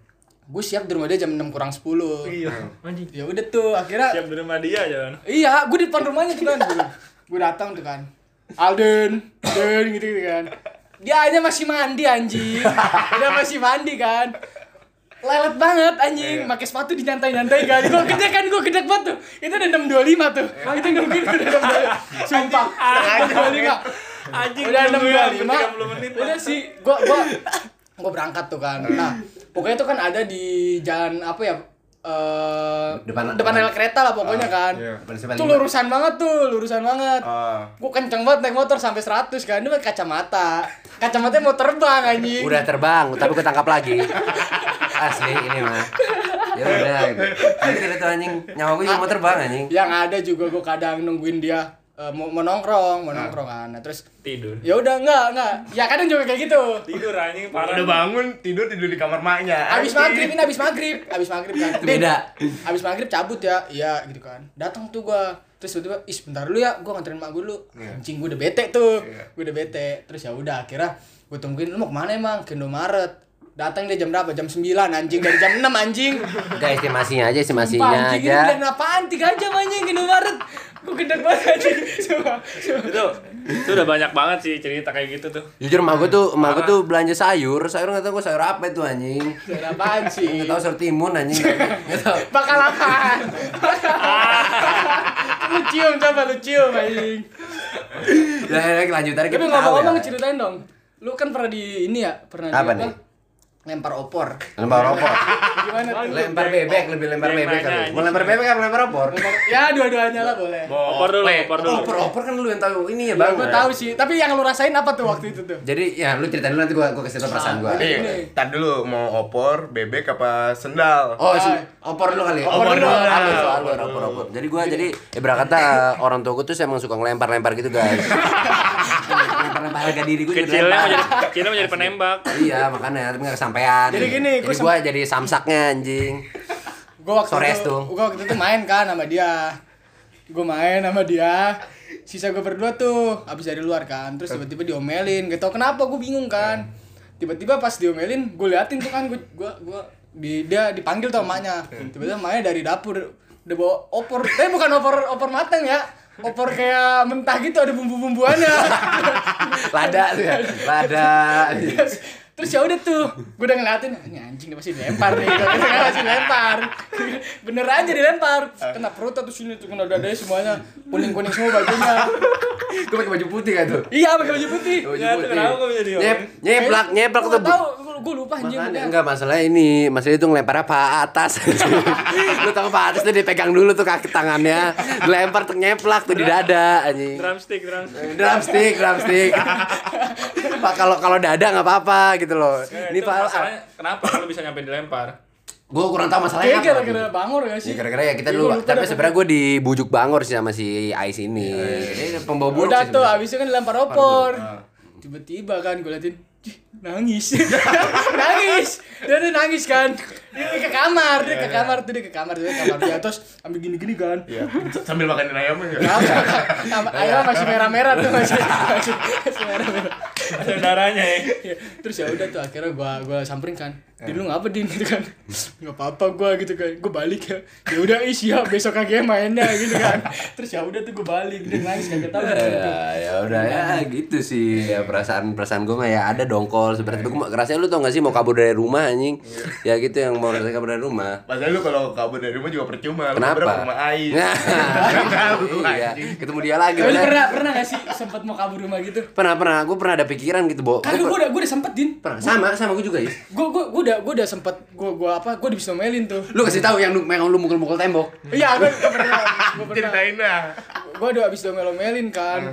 Gue siap di rumah dia jam 6 kurang 10
Iya. Anjing.
Ya udah tuh, akhirnya
Siap di rumah dia aja kan.
Iya, gue di depan rumahnya tuh kan. gue datang tuh kan. Alden, Alden gitu, gitu kan. Dia aja masih mandi anjing. Dia masih mandi kan. Lelet banget anjing, pakai sepatu dinyantai-nyantai kan. Gue gede kan, gue gede banget tuh. Itu ada 625 tuh. Itu nungguin udah 625. Sumpah. 625
Anjing.
udah enam
nunggu
dua
ya,
lima
30 menit.
udah sih gua gua gua berangkat tuh kan nah pokoknya tuh kan ada di jalan apa ya eh
Depan- Ah, iya.
depan depan rel kereta lah pokoknya kan
Depan sebelah
tuh
lima.
lurusan banget tuh lurusan banget
Ah.
gua kenceng banget naik motor sampai 100 kan dia pakai kacamata kacamatanya mau terbang anjing
Udah terbang, tapi gue tangkap lagi. Asli ini mah. Ya udah. Ini itu anjing nyawa gue juga mau terbang anjing.
yang ada juga gua kadang nungguin dia eh, mau, mau nongkrong
Ah.
mau nongkrong kan nah, terus
Tidur.
ya udah enggak enggak ya kadang juga kayak gitu
Tidur anjing parah.
Udah bangun tidur tidur di kamar maknya.
Abis
Anjing.
maghrib ini abis maghrib, abis maghrib kan.
Beda.
Abis maghrib cabut ya, iya gitu kan. Datang tuh gua, terus tiba-tiba, is bentar dulu ya, gua nganterin mak gua dulu. Anjing gua udah bete tuh, gua udah bete. Terus ya udah akhirnya gua tungguin lu mau kemana emang? Ke Indomaret. Datang dia jam berapa? Jam 9 anjing dari jam 6 anjing.
Udah estimasinya aja,
Sumpah,
estimasinya
anjing ini
aja.
bulan apaan? 3 jam anjing ke Indomaret. Gua gedeg banget anjing. Coba.
Itu, itu udah banyak banget sih cerita kayak gitu tuh.
Jujur emak gue tuh, emak gue tuh belanja sayur, sayur gak tau gue sayur apa itu anjing
Suara apaan sih?
Gak tau sayur timun anjing Gak tau
bakal apaan? lu cium coba lu cium anjing.
Ya, ya, lanjutannya
Tapi
kita
ngomong-ngomong
tahu ya.
ceritain dong. Lu kan pernah di ini ya, pernah
Apa
di
nih?
Lempar opor.
Lempar opor
Gimana tuh?
Lempar bebek, lebih lempar
Yang
bebek
nanya
kali
aja.
Mau lempar bebek apa lempar opor?
Ya dua-duanya lah boleh.
Oh,
Opor dulu, opor dulu.
Opor, opor kan lu yang tahu ini ya
Ya,
bang
gua tahu sih, tapi yang lu rasain apa tuh waktu itu tuh?
Jadi ya lu ceritain dulu nanti gua, gua kasih tau perasaan gua
Iya.
Nih, tar Iya. dulu mau opor, bebek apa sendal?
Oh, si,
Iya.
opor dulu kali. ya?
Opor dulu.
Alur, alur, opor, opor. Jadi gua jadi ibarat kata eh, orang tua gua tuh emang suka ngelempar-lempar gitu, guys. Lempar-lempar harga diri gua jadi
Kecilnya
lempar.
menjadi, kecilnya menjadi penembak.
Iya, makanya tapi enggak kesampaian.
Jadi gini,
jadi
gua
gua jadi samsaknya anjing.
Gua waktu
Sores
itu,
tuh.
gua waktu itu main kan sama dia. Gua main sama dia. Sisa gua berdua tuh habis dari luar kan. Terus tiba-tiba diomelin, gak tau kenapa gua bingung kan. Tiba-tiba pas diomelin, gua liatin tuh kan gua gua, gua di, dia dipanggil tuh emaknya. Tiba-tiba emaknya dari dapur udah bawa opor. Tapi bukan opor opor matang ya. Opor kayak mentah gitu ada bumbu-bumbuannya.
Lada tuh ya. Lada.
terus terus ya udah tuh gue udah ngeliatin ini anjing dia pasti dilempar nih Gua kata, "Dia pasti dilempar bener aja dilempar kena perut tuh sini tuh kena dadanya semuanya kuning kuning semua bajunya
Gua pakai baju putih kan tuh.
iya pakai baju putih
Pakai Baju
Ya, tuh kenapa gua jadi
Nyep,
orang?
nyeplak, nyeplak tuh. Bu.
tahu gue lupa anjing
Makanya,
udah.
enggak masalah ini, masalah itu ngelempar apa atas. lu tahu apa atas tuh dipegang dulu tuh kaki tangannya, dilempar tuh nyeplak tuh di dada anjing.
Drumstick, drumstick.
drumstick drumstick pak kalau kalau dada nggak apa-apa gitu loh ini
Itu
pak
masalahnya kenapa lu bisa nyampe dilempar?
gue kurang tahu masalahnya
kayaknya
apa
gara-gara bangor ya
Ya,
sih
gara-gara ya kita
Iya, gua
dulu
lupa
tapi
dah.
sebenarnya gue dibujuk bangor sih sama si Ais ini Ini pembawa buruk
udah
sih
tuh
sebenarnya.
abis itu kan dilempar opor tiba-tiba kan gue liatin "Ih, nangis nangis dia tuh nangis kan dia ke kamar dia
Iya,
ke kamar tuh dia ke kamar dia ke kamar dia terus ambil gini-gini kan
Iya. Sambil makan ayamnya ya.
Kenapa? Kenapa? Ayam masih merah-merah tuh masih masih, masih merah-merah.
Saudaranya ya.
Iya. Terus ya udah tuh akhirnya gua gua samperin kan. Din lu ngapa Din gitu kan nggak apa-apa gua gitu kan gua balik ya ya udah ih siap besok kagak mainnya gitu kan terus ya udah tuh gua balik dia nangis kagak tahu gitu.
ya ya udah ya gitu sih ya perasaan perasaan gue mah ya ada dongkol seperti itu gue rasanya lu tau gak sih mau kabur dari rumah anjing ya gitu yang mau rasanya kabur dari rumah
Padahal lu kalau kabur dari rumah juga percuma. Lu
kenapa
kabur ke rumah Ais.
Nah,
Tahu,
iya
anjing.
ketemu dia lagi
Tapi lu
pernah
Ya pernah pernah gak sih sempet mau kabur rumah gitu
pernah pernah gue pernah ada pikiran gitu bo
kagak gua
Gua
udah gua udah sempet Din
pernah sama sama gue juga ya
gua gua gua udah gua udah sempet gua gua apa gua bisa melin tuh
lu kasih tahu yang lu yang lu mukul-mukul tembok
iya gua gua pernah gua pernah
Ceritain lah.
gua udah abis domelin kan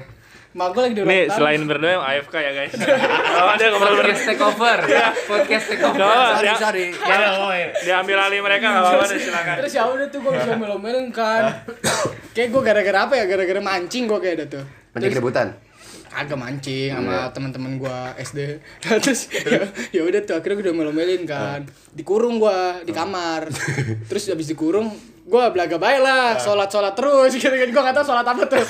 Mak gua lagi di
Nih
ruang tamu.
selain berdua yang AFK ya guys. Kalau ada ngobrol berdua.
Podcast takeover.
Ya.
Podcast takeover.
sorry
Ya,
sorry
diambil alih mereka nggak apa-apa deh silakan.
Terus ya udah tuh gue bisa melomel kan. kayak gue gara-gara apa ya? Gara-gara mancing gue kayak ada tuh.
Mencari keributan
Agak mancing
Iya.
sama teman-teman gue SD. Terus ya, ya udah tuh akhirnya gue udah melomelin kan.
Ah.
Dikurung gue di kamar. Terus abis dikurung gue belaga baik
Ah.
lah, sholat sholat terus gitu kan gue nggak tahu sholat apa tuh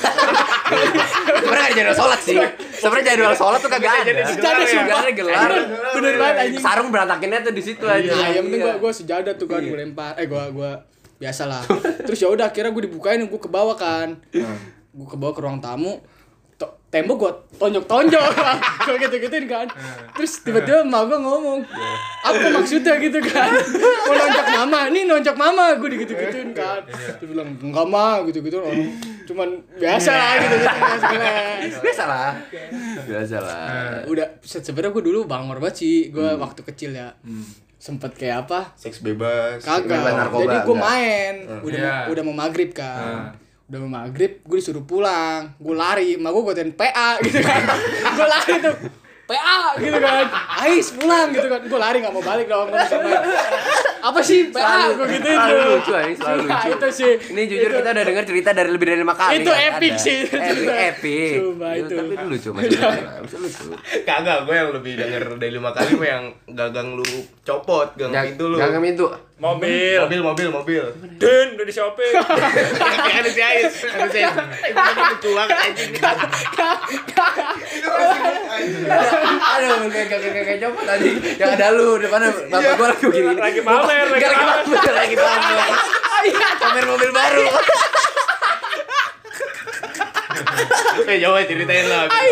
sebenarnya gak jadwal sholat sih sebenarnya jadwal sholat tuh kagak ada
sejadah sumpah
Gak ada gelar
Bener- bener banget anjing
sarung berantakinnya tuh di situ Iya. aja
Nah, yang penting gua gua sejadah tuh kan gue lempar. Eh gua gua biasalah. Terus ya udah akhirnya gue dibukain gue ke bawah kan. Gue ke bawah ke ruang tamu. To- tembok gua tonjok-tonjok. gua gitu-gituin kan. Terus tiba-tiba emak gua ngomong, "Apa maksudnya gitu kan? Mau nonjok mama, nih nonjok mama." Gue digitu-gituin kan. Terus bilang, "Enggak mah," gitu-gitu orang. Cuman biasa gitu, lah gitu-gitu biasa kelas.
biasa lah biasa lah
gitu. Udah se- sebenarnya gue dulu bangor banget sih gue waktu kecil ya. Sempet kayak apa?
Seks bebas.
kagak
Bebas narkoba,
jadi gue
enggak. Hmm.
main udah
Iya.
mau, udah mau maghrib kan udah mau maghrib gue disuruh pulang gue lari emak gue godain PA gitu kan gue lari tuh PA gitu kan Ais pulang gitu kan gue lari nggak mau balik dong nggak bisa main. apa sih PA
Selalu-
gue gituin
selalu
tuh
lucu, Ais, selalu
Sumpah,
lucu.
itu sih
ini jujur kita udah dengar cerita dari lebih dari lima kali
Itu
kan?
epic
Ada.
sih, itu
epic
cerita.
epic
Sumpah,
Itu-
itu.
tapi itu lucu masih lucu lah, masih lucu
Kagak, gue yang
Iya.
lebih denger dari lima kali mah yang gagang lu copot, gagang pintu lu.
Jangan pintu
Mobil.
Mobil, mobil, mobil.
Dun, udah di shopping.
Kayak ada si Ais, ada si Ais. Lucu banget anjing.
aduh kayak kayak kayak kayak copot tadi yang ada lu depannya
Iya.
bapak gua lagi begini
Lagi pamer, lagi
Nggak, lagi pamer lagi pamer pamer mobil
Iya.
baru
Eh, coba ceritain
Iya.
lah. gitu.
Eh,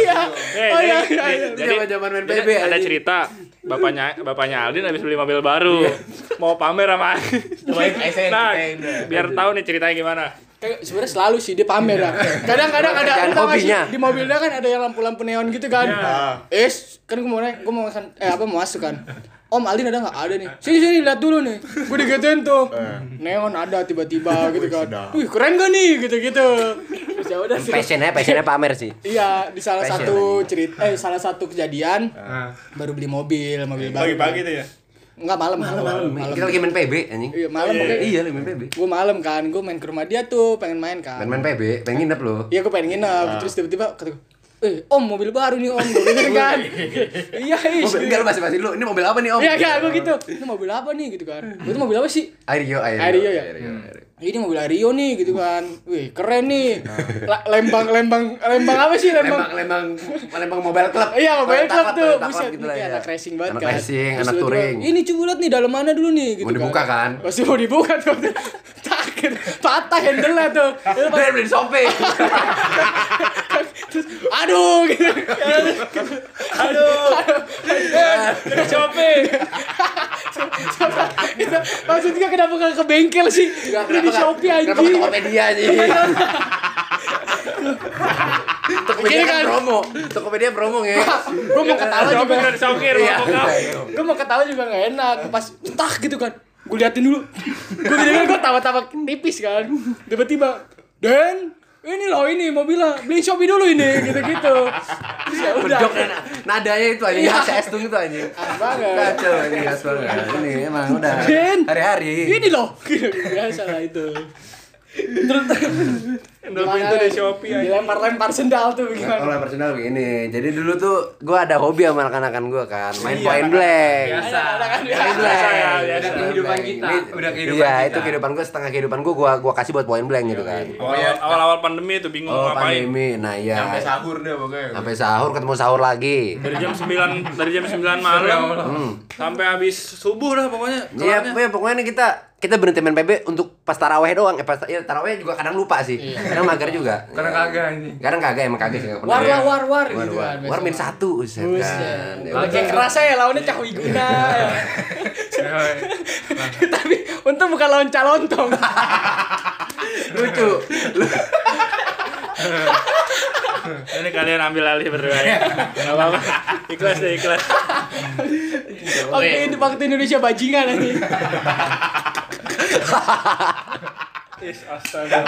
Oh, iya,
jadi-
iya,
di-
iya.
jadi
Zaman-zaman main
jadi
PB,
Ada
anjing.
cerita bapaknya bapaknya Aldin habis beli mobil baru. Mau pamer sama
Coba Ais yang
Nah,
ceritain.
biar tahu nih ceritanya gimana.
Kayak sebenarnya selalu sih dia pamer lah. Kadang-kadang ada
Kerjaan
lu tau gak sih,
hobinya.
di mobilnya kan ada yang lampu-lampu neon gitu kan. Eh, kan gue mau naik, gue mau makan eh apa mau masuk kan. Om Aldin ada nggak ada nih? Sini sini lihat dulu nih. Gue digituin tuh. Neon ada tiba-tiba gitu kan. Wih keren gak nih gitu-gitu. Terus ya udah sih.
passionnya passionnya pamer sih
Iya di salah
Passion
satu cerita eh salah satu kejadian baru beli mobil mobil baru.
Pagi-pagi tuh ya.
Enggak malam malam malam.
kita lagi main PB anjing
Iya malam pokoknya.
iya lagi main PB
Gue malam kan, gue main ke rumah dia tuh pengen main kan.
main main PB pengen nginep lu
Iya gue pengen nginep,
Ah.
terus tiba-tiba kata gue, eh om mobil baru nih om, gue gitu kan Iya ish
mobil enggak lu masih masih lu ini mobil apa nih om
Iya iya gue gitu, ini mobil apa nih gitu kan Itu mobil apa sih?
Aerio
Aerio ya?
Aerio, Aerio.
Ini mobil Ario nih gitu kan Wih keren nih La- Lembang, lembang, lembang apa sih
Nah. Lembang
lembang?
lembang lembang mobile club.
Iya mobil
Toyota
club tuh,
Toyota
buset
gitu
nih
lah
kayak
ya.
anak racing banget
Anak
kan
racing,
Terus
anak
tiba-tiba,
touring.
Ini coba lihat nih dalam mana dulu nih gitu
Mau dibuka kan?
Pasti mau dibuka tuh Tak gitu, patah handle-nya tuh Itu
Biar beli sopir.
terus aduh gitu aduh aduh shopping maksudnya kenapa gak ke bengkel sih udah di shopee
Kenapa ke
anjing
Tokopedia sih? Tokopedia
Gini kan.
kan promo. Tokopedia promo ya.
gue mau ketawa juga
Udah di shopping,
Iya.
mau kau.
gue mau ketawa juga gak enak pas entah gitu kan gue liatin dulu gue gini kan gue tawa-tawa tipis kan tiba-tiba dan ini loh ini mobilnya beli shopee dulu ini gitu-gitu Terus ya udah
Bedok dan nadanya itu anjing. Nah,
Iya.
Saya estung itu anjing.
Khas banget.
Kacau anjing khas banget. Ini emang udah
Din. Gitu,
hari-hari.
ini loh biasa lah itu terus
Sendal pintu dari Shopee aja.
dilempar-lempar sendal tuh
Nah,
gimana
kalau personal begini, jadi dulu tuh gue ada hobi sama anak-anakan gue kan, main point blank.
Biasa.
Point blank.
Biasa ya,
biasa.
Point
Kehidupan
blank.
kita.
Ini-
Udah kehidupan
iya,
kita.
itu kehidupan gue setengah kehidupan gue gua gua kasih buat point blank gitu kan.
Oh,
Pokoknya
Awal-awal pandemi itu bingung
Oh,
mau ngapain.
pandemi. Nah,
Iya. sampai
iya.
sahur deh pokoknya.
Sampai sahur ketemu sahur lagi.
Dari jam 9 dari jam 9 malam sampai habis subuh dah pokoknya.
Iya,
kelarnya.
pokoknya- pokoknya nih kita kita berhenti main PB untuk pas taraweh doang. Eh, pas ya, taraweh juga kadang lupa sih. Kadang mager juga.
Karena
Iya.
kagak anjing.
Kadang kagak emang kagak sih enggak pernah.
war lah war war
War,
gitu
war.
kan
War main satu, set kan. Ya
lagi
udah.
kerasa ya lawannya cah wiguna ya. tapi untung bukan lawan calontong
lucu.
Ini kalian ambil alih berdua ya. Enggak apa-apa. Ikhlas deh, ikhlas.
waktu ini waktu Indonesia bajingan nanti
Is astaga.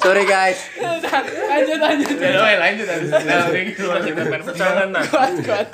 Sorry guys.
lanjut lanjut
Iya. Ya,
Udah, lanjut habis
Nah,
itu.
Kita main futsal kan. Nah.
kuat kuat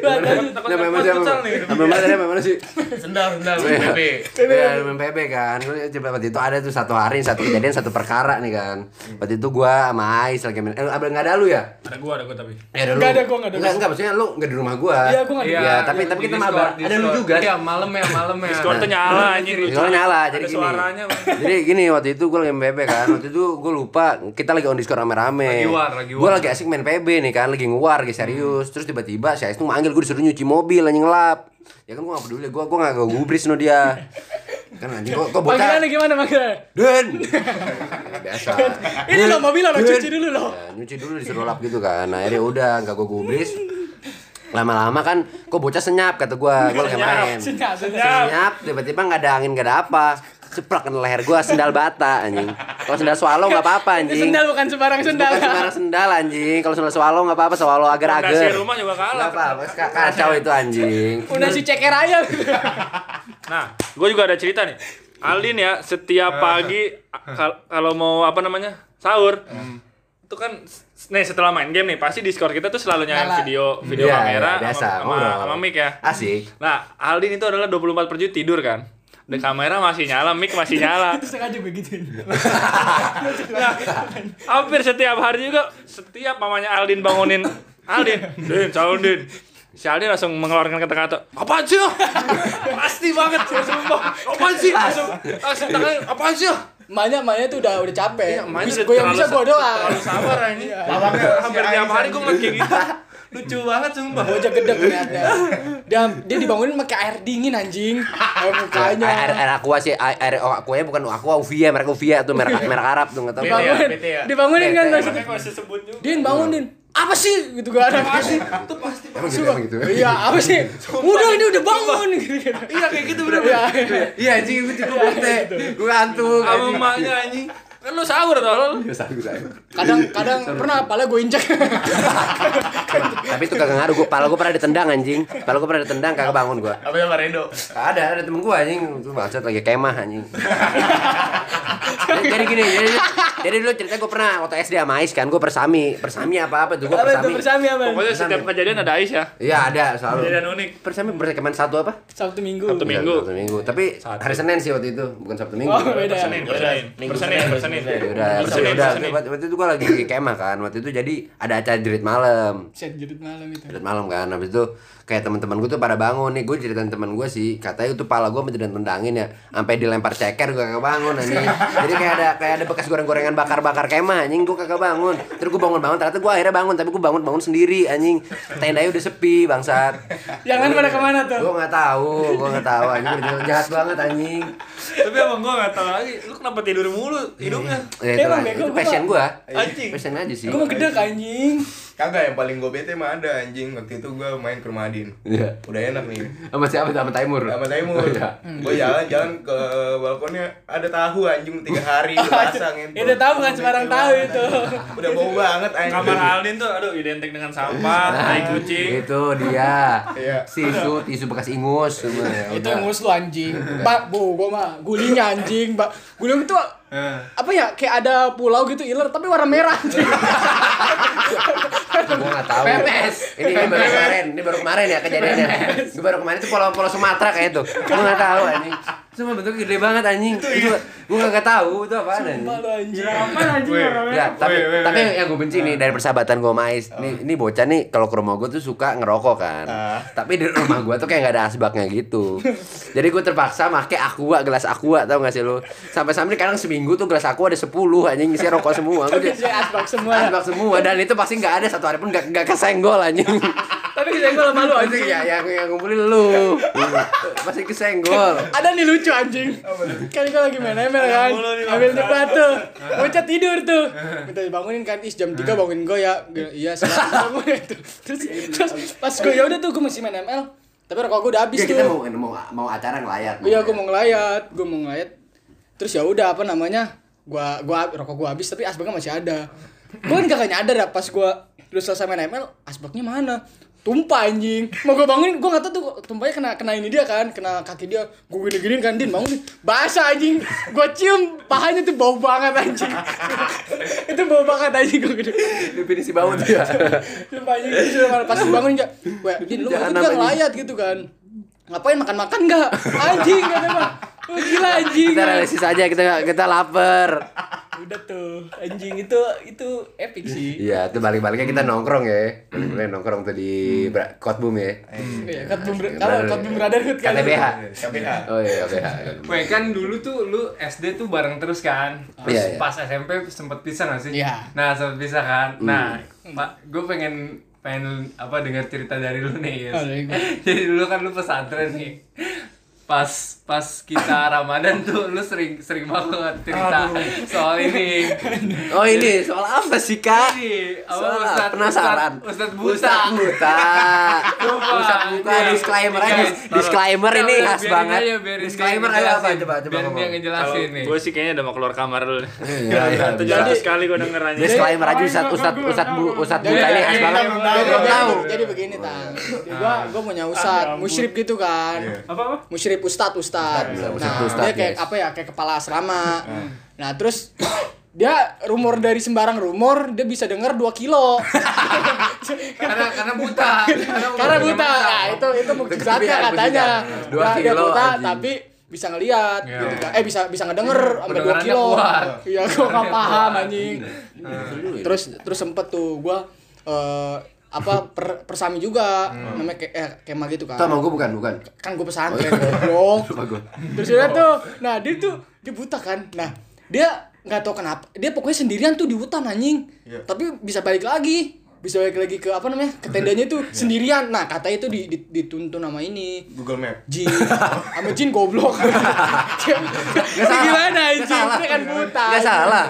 kuat lanjut.
Nah, memang sih, memang memang tadi memang sih.
Sendal, sendal,
Iya.
PP.
Ya, main PB kan. Gua coba waktu itu ada tuh satu hari satu kejadian satu perkara nih kan. Waktu itu gua sama Ais lagi main. Eh, abang enggak ada lu ya?
Ada gua, ada gua tapi.
Ya,
Nggak ada, gua nggak ada.
Enggak, enggak maksudnya lu enggak di rumah gua.
Iya, gua nggak di-
Iya, tapi tapi kita mabar. Ada lu juga.
Iya, malam ya, malam ya.
Discord nyala anjing
Iya.
lucu.
Kalau nyala,
Ada
jadi gini.
suaranya. Bang.
Jadi gini waktu itu gue lagi main PB kan. Waktu itu gue lupa kita lagi on Discord rame-rame.
Lagi war, lagi
Gue
war.
lagi asik main PB nih kan, lagi ngewar, lagi serius. Terus tiba-tiba si Ais tuh manggil gue disuruh nyuci mobil anjing ngelap. Ya kan gue gak peduli, gue gue gak gue gubris no dia. Kan anjing kok kok bocah.
panggilannya gimana panggilannya
Den. Biasa.
ini loh mobil lo
Den.
cuci dulu loh
Ya, nyuci dulu disuruh lap gitu kan. Nah, akhirnya udah gak gue gubris. Lama-lama kan kok bocah senyap kata gue, gue lagi main.
Senyap, senyap.
Senyap, tiba-tiba nggak ada angin, nggak ada apa. Ceplak kena leher gua sendal bata anjing. Kalau sendal swallow nggak apa-apa
Ini
anjing.
sendal bukan sembarang sendal
Bukan sembarang sendal anjing. Kalau sendal swallow nggak apa-apa, swallow
Nasi
agar-agar.
rumah juga kalah.
Nggak apa-apa, ka- kacau itu anjing.
udah si ceker ayam
Nah, gue juga ada cerita nih. Aldin ya
Ah.
setiap pagi a- kal- kalau mau apa namanya sahur,
Hmm.
itu kan s- nih setelah main game nih pasti Discord kita tuh selalu nyalain
Nyala.
video video
Iya,
kamera
iya, biasa,
sama, sama,
ngobrol.
sama mic ya.
Asik.
Nah, Aldin itu adalah 24 per 7 tidur kan. The
Hmm.
kamera masih nyala, mic masih nyala.
itu sengaja begituin
Hampir setiap hari juga setiap mamanya Aldin bangunin Aldin, Din, calon Din. Si Aldin langsung mengeluarkan kata-kata, apaan sih lo?" Pasti banget, sumpah. Apaan sih? Langsung, langsung tangannya, apaan sih oh?" lo?"
Maknya, maknya tuh udah udah capek.
emaknya
Bisa-
udah
gua yang bisa
terlalu
gua doang.
Terlalu sabar ini.
Bapaknya
Hampir
si
tiap hari
Ais
gue
anjing.
ngeliat kayak gitu. Lucu banget sumpah.
Bocah gede ternyata. Dia dia dibangunin pakai air dingin anjing. Air mukanya.
Air air aqua sih, air air aqua bukan aqua Uvia, merek Uvia tuh merek merek Arab tuh nggak tahu.
Iya,
Bangun.
bete ya.
Dibangunin kan
Bete.
maksudnya.
Makanya masih sebut juga.
Din bangunin. Apa sih gitu gua ada.
Itu pasti.
Emang gitu, emang gitu.
Iya, apa sih? Udah ini udah bangun gitu.
Iya kayak gitu bener.
Iya.
Iya anjing gue cukup bete. Gue ngantuk.
Sama emaknya anjing. Kan lu sahur tau. lu.
Kadang kadang pernah pala gua injek.
Tapi itu kagak ngaruh gue, pala gue pernah ditendang anjing. Pala gue pernah ditendang kagak bangun gue.
Apa ya Marendo?
Ada, ada temen gua anjing, itu bangsat lagi kemah anjing. jadi, jadi gini, jadi, jadi dulu cerita gua pernah waktu SD sama Ais kan, gua persami, persami apa apa tuh gua
Apa itu
persami.
bersami apa?
Pokoknya setiap kejadian ada Ais ya.
Iya ada selalu.
Kejadian unik.
Persami berkeman satu apa?
Sabtu Minggu.
Sabtu Minggu.
Sabtu minggu. Tapi hari Senin sih waktu itu, bukan Sabtu Minggu.
Oh, beda.
Persenin, persenin. Persenin, persenin.
Ya udah, tapi
Persenin,
udah.
persenin.
Waktu, waktu itu gua lagi kemah kan, waktu itu jadi ada acara jerit malam.
Set jerit malam itu.
Jerit malam kan, habis itu kayak teman-teman gue tuh pada bangun nih, gue ceritain teman gue sih, katanya itu pala gue menjadi tendangin ya, sampai dilempar ceker gue kagak bangun anjing. Jadi kayak ada kayak ada bekas goreng-gorengan bakar-bakar kemah anjing, gue kagak bangun. Terus gue bangun-bangun, ternyata gue akhirnya bangun, tapi gue bangun-bangun sendiri anjing. Tendanya udah sepi bangsat.
Yang lain pada kemana tuh?
Gue nggak tahu, gue nggak tahu anjing, Gua jahat banget anjing.
Tapi abang gue gak tau lagi. Lu kenapa tidur mulu hidupnya?
Ya itu
Emang
lah,
bego
itu
gua.
passion gue,
Anjing.
passion aja sih.
Gua mau gede anjing.
Kagak yang paling gue bete mah ada anjing waktu itu gue main ke rumah Adin.
Iya.
Udah enak nih.
Sama siapa? Sama Taimur.
Sama Taimur.
Oh, iya.
Gue jalan-jalan ke balkonnya ada tahu anjing tiga hari pasang
Ya udah tahu kan sembarang tahu itu.
Udah bau banget anjing.
Kamar Aldin tuh aduh identik dengan sampah, tai kucing.
Itu Ah, gitu dia.
Iya.
Tisu, tisu bekas ingus semua ya.
itu
udah.
yang ngurus lu anjing pak bu gua mah gulinya anjing pak guling itu apa ya kayak ada pulau gitu iler tapi warna merah anjing
Gua nggak tahu. Ini, ini baru kemarin, ini baru kemarin ya kejadiannya. Gua baru kemarin itu pulau-pulau Sumatera kayak itu. Gua nggak tahu ini. Cuma bentuknya gede banget anjing. Itu gua kagak tahu itu apaan Iya, anjing.
Malu anjing.
anjing ya, Romeo?
Ya, tapi tapi yang- yang gue benci
Nah.
nih dari persahabatan gue sama Ais.
Oh.
Nih, ini bocah nih kalau ke rumah gue tuh suka ngerokok kan.
Ah.
Tapi di rumah gue tuh kayak nggak ada asbaknya gitu. Jadi gue terpaksa make aqua gelas aqua tau gak sih lu? Sampai sampai kadang seminggu tuh gelas aqua ada 10 anjing isi rokok semua. Gue
Tapi
jadi
saya asbak semua. ya.
asbak semua dan itu pasti nggak ada satu hari pun nggak nggak kesenggol anjing.
Tapi saya gue sama lu anjing.
ya yang yang ngumpulin lu. pasti kesenggol.
Ada nih lucu anjing. Kan gue lagi main ML kan. Ambil cepat tuh. Bocah tidur tuh. Minta dibangunin kan. Is jam 3 bangunin gue ya. Gua, Iya salah bangun itu. Terus terus pas gue ya udah tuh gue masih main ML. Tapi rokok gue udah habis
Ya,
tuh.
kita mau mau mau acara ngelayat.
Iya gue mau ngelayat, gue mau ngelayat. Terus ya udah apa namanya? Gua gua rokok gua habis tapi asbaknya masih ada. Gue kan kagak nyadar ya pas gua udah selesai main ML, asbaknya mana? Tumpah anjing. Mau gue bangunin, gue gak tau tuh tumpahnya kena kena ini dia kan, kena kaki dia. Gue gini-giniin kan, Din bangun. Din." Basah anjing. Gue cium pahanya tuh bau banget anjing. Itu bau banget anjing gue gede.
definisi bau tuh ya.
Sumpah anjing gitu malah pas bangun ya. Wah, Din lu
Jahanam,
itu udah
anjing.
ngelayat gitu kan. Ngapain makan-makan enggak? Anjing kata mah. Lu gila anjing.
Kita realistis aja kita kita lapar.
Udah tuh, anjing itu itu epic sih.
Iya, itu balik-baliknya kita nongkrong ya. Balik-balik nongkrong tuh di
Hmm.
Bra- Kotbum
Eh,
ya.
Iya, kat Bum- kalau kat Bum Brotherhood kan.
iya,
Iya,
KTBH.
KPA.
Oh iya, oke.
Weh kan dulu tuh lu SD tuh bareng terus kan. Terus
Iya, iya.
pas SMP sempet pisah gak sih?
Iya.
Nah, sempet pisah kan.
Hmm.
Nah, Pak, gue pengen pengen apa dengar cerita dari lu nih, Yes.
Oh, dari gua.
Jadi dulu kan lu pesantren nih. Pas pas kita Ramadan tuh lu sering sering banget cerita soal ini.
Oh ini soal apa sih kak?
Ini, apa,
Soal apa?
Ustadz-
Ah, penasaran.
Ustadz- Ustadz buta.
Ustadz buta.
Coba.
Ustadz buta.
Nih,
Disclaimer
nih,
aja.
Iya. guys, taruh.
Disclaimer ini
Udah,
khas
biarin
banget.
aja, biarin dia
Disclaimer ayo apa?
ngejelasin.
Coba coba
Biarin dia
ngomong.
ngejelasin nih.
Gue sih kayaknya udah mau keluar kamar dulu.
Iya, iya,
Tujuh
bisa.
ratus kali gue denger anjing.
Disclaimer aja Ustadz Ustadz Ustadz bu, Ustadz buta ini khas
Iya,
banget.
iya,
Jadi,
Belum
jadi,
tahu. Ah.
jadi begini tang, Jadi gua gua punya usat, musyrib gitu kan,
Apa apa?
musyrib ustad ustad. Nah
Iya, ustad,
dia kayak
yes. Ah.
apa ya kayak kepala asrama. Nah terus dia rumor dari sembarang rumor dia bisa denger 2 kilo.
Karena karena buta.
Karena buta, nah, itu itu mukjizatnya
Kegedean,
katanya.
mukjizat. Dua
Dua dia
kilo,
buta
anjing.
tapi bisa ngelihat gitu kan. Eh bisa bisa ngedenger sampai 2
Pendengarannya
kilo.
kuat.
Iya, gua nggak paham anjing.
Dulu ya.
Terus terus sempet tuh gua eh, apa per- persami juga namanya kayak eh, kema gitu kan
Itu sama gue bukan bukan.
kan gue pesantren
Oh, iya.
goblok
Sama gue.
terus udah tuh nah dia tuh dia buta kan nah dia nggak tahu kenapa dia pokoknya sendirian tuh di hutan anjing
Iya.
tapi bisa balik lagi bisa balik lagi ke apa namanya ke tendanya itu
Iya.
sendirian nah katanya itu di, di- dituntun sama ini
Google Map.
Jin sama Jin goblok Gak
salah.
gimana
Nggak
anjing
salah.
dia kan buta
Gak salah.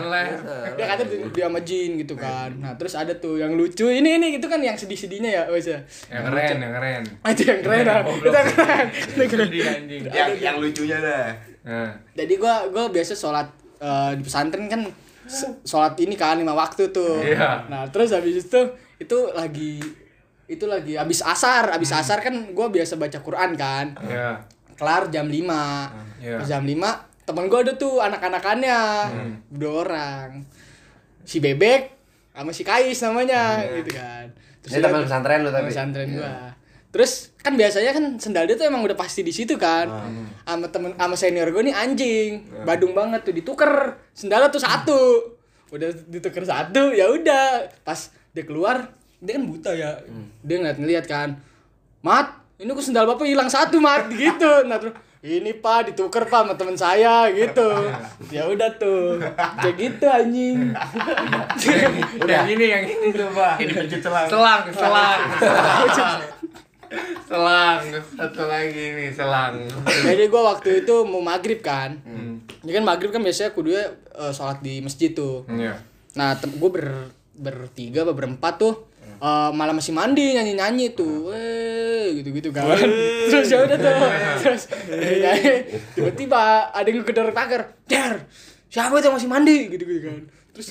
dia kata di- dia sama Jin gitu kan nah terus ada tuh yang lucu ini ini itu kan yang sedih-sedihnya ya wes ya
Yang keren, yang keren.
Ah, itu yang
Iya,
keren ah. itu yang keren Itu yang keren
Sedih, anjing.
Yang yang lucunya dah.
Nah.
jadi gua gua biasa sholat eh, di pesantren kan s- sholat ini kan lima waktu tuh
Iya.
nah terus habis itu itu lagi itu lagi habis asar habis
Hmm.
asar kan gua biasa baca Quran kan
Ya.
kelar jam 5
Iya. Hmm.
jam 5 temen gua ada tuh anak-anakannya dua orang si bebek sama si kais
Hmm,
namanya
iya.
gitu kan
Ini
dia-
teman pesantren lu
Temen
tapi. Iya.
pesantren gua. Terus kan biasanya kan sendal dia tuh emang udah pasti di situ kan.
Ah.
Sama temen sama senior gua nih anjing,
Iya.
badung banget tuh dituker. Sendalnya tuh satu. Udah dituker satu, ya udah. Pas dia keluar, dia kan buta ya.
Hmm.
Dia ngeliat-ngeliat kan. Mat, ini kok sendal bapak hilang satu mat gitu. Nah terus ini pak dituker pak sama temen saya gitu. Ya udah tuh, kayak gitu anjing.
Udah. Yang ini, yang ini coba.
Ini pencet celang.
Selang, selang. selang. Satu lagi nih, selang.
Jadi gua waktu itu mau maghrib kan. Ya kan maghrib kan biasanya kudunya eh, sholat di masjid tuh.
Hmm.
Iya.
Nah tem- gue ber bertiga apa berempat tuh eh, malah masih mandi nyanyi nyanyi tuh, eh gitu-gitu kan. Terus ya udah tuh, terus nyanyi. tiba-tiba ada yang gedor pagar, der siapa itu yang masih mandi gitu-gitu kan. Terus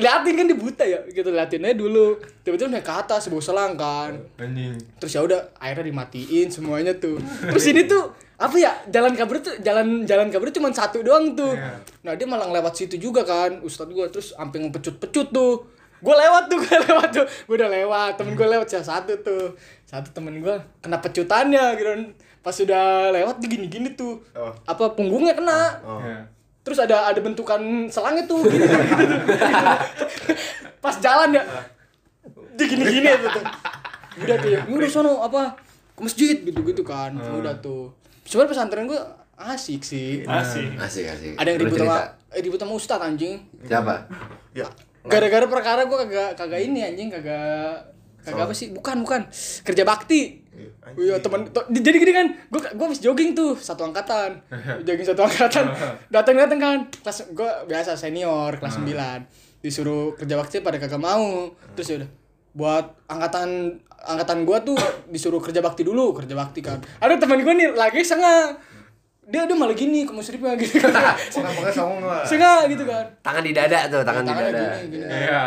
liatin kan dia buta ya, gitu liatin aja dulu. Tiba-tiba naik ke atas bawa selang kan
Anjing.
terus ya udah airnya dimatiin semuanya tuh terus ini tuh apa ya jalan kabar tuh jalan jalan kabar cuma satu doang tuh
Iya.
nah dia malah lewat situ juga kan ustadz gua terus sampai ngepecut-pecut tuh gue lewat tuh gue lewat ya tuh gue udah lewat temen gue lewat salah satu tuh satu temen gue kena pecutannya gitu pas sudah lewat dia gini-gini tuh
Oh.
apa punggungnya kena
Oh.
terus ada ada bentukan selangnya tuh gini, gini, gini, tuh. pas jalan ya dia gini-gini ya tuh udah tuh ya, "Ini udah sono apa ke masjid gitu-gitu kan udah tuh sebenarnya pesantren gue asik sih
Masih.
Asik asik.
ada yang
Lu
ribut
cerita.
sama eh, ribut sama ustad anjing
Siapa?
Ya.
gara-gara perkara gue kagak kagak ini anjing kagak kagak apa sih bukan bukan kerja bakti Iya teman to- di- jadi gini kan gue gue habis jogging tuh satu angkatan jogging satu angkatan datang datang kan kelas gue biasa senior kelas 9 disuruh kerja bakti pada kagak mau terus ya udah buat angkatan angkatan gue tuh disuruh kerja bakti dulu kerja bakti kan ada teman gue nih lagi sengah dia udah malah gini ke musyrifnya gitu
Pokoknya songong lah.
sengah gitu kan
Tangan di dada tuh, tangan di
tangannya
dada.
gini gini
Iya.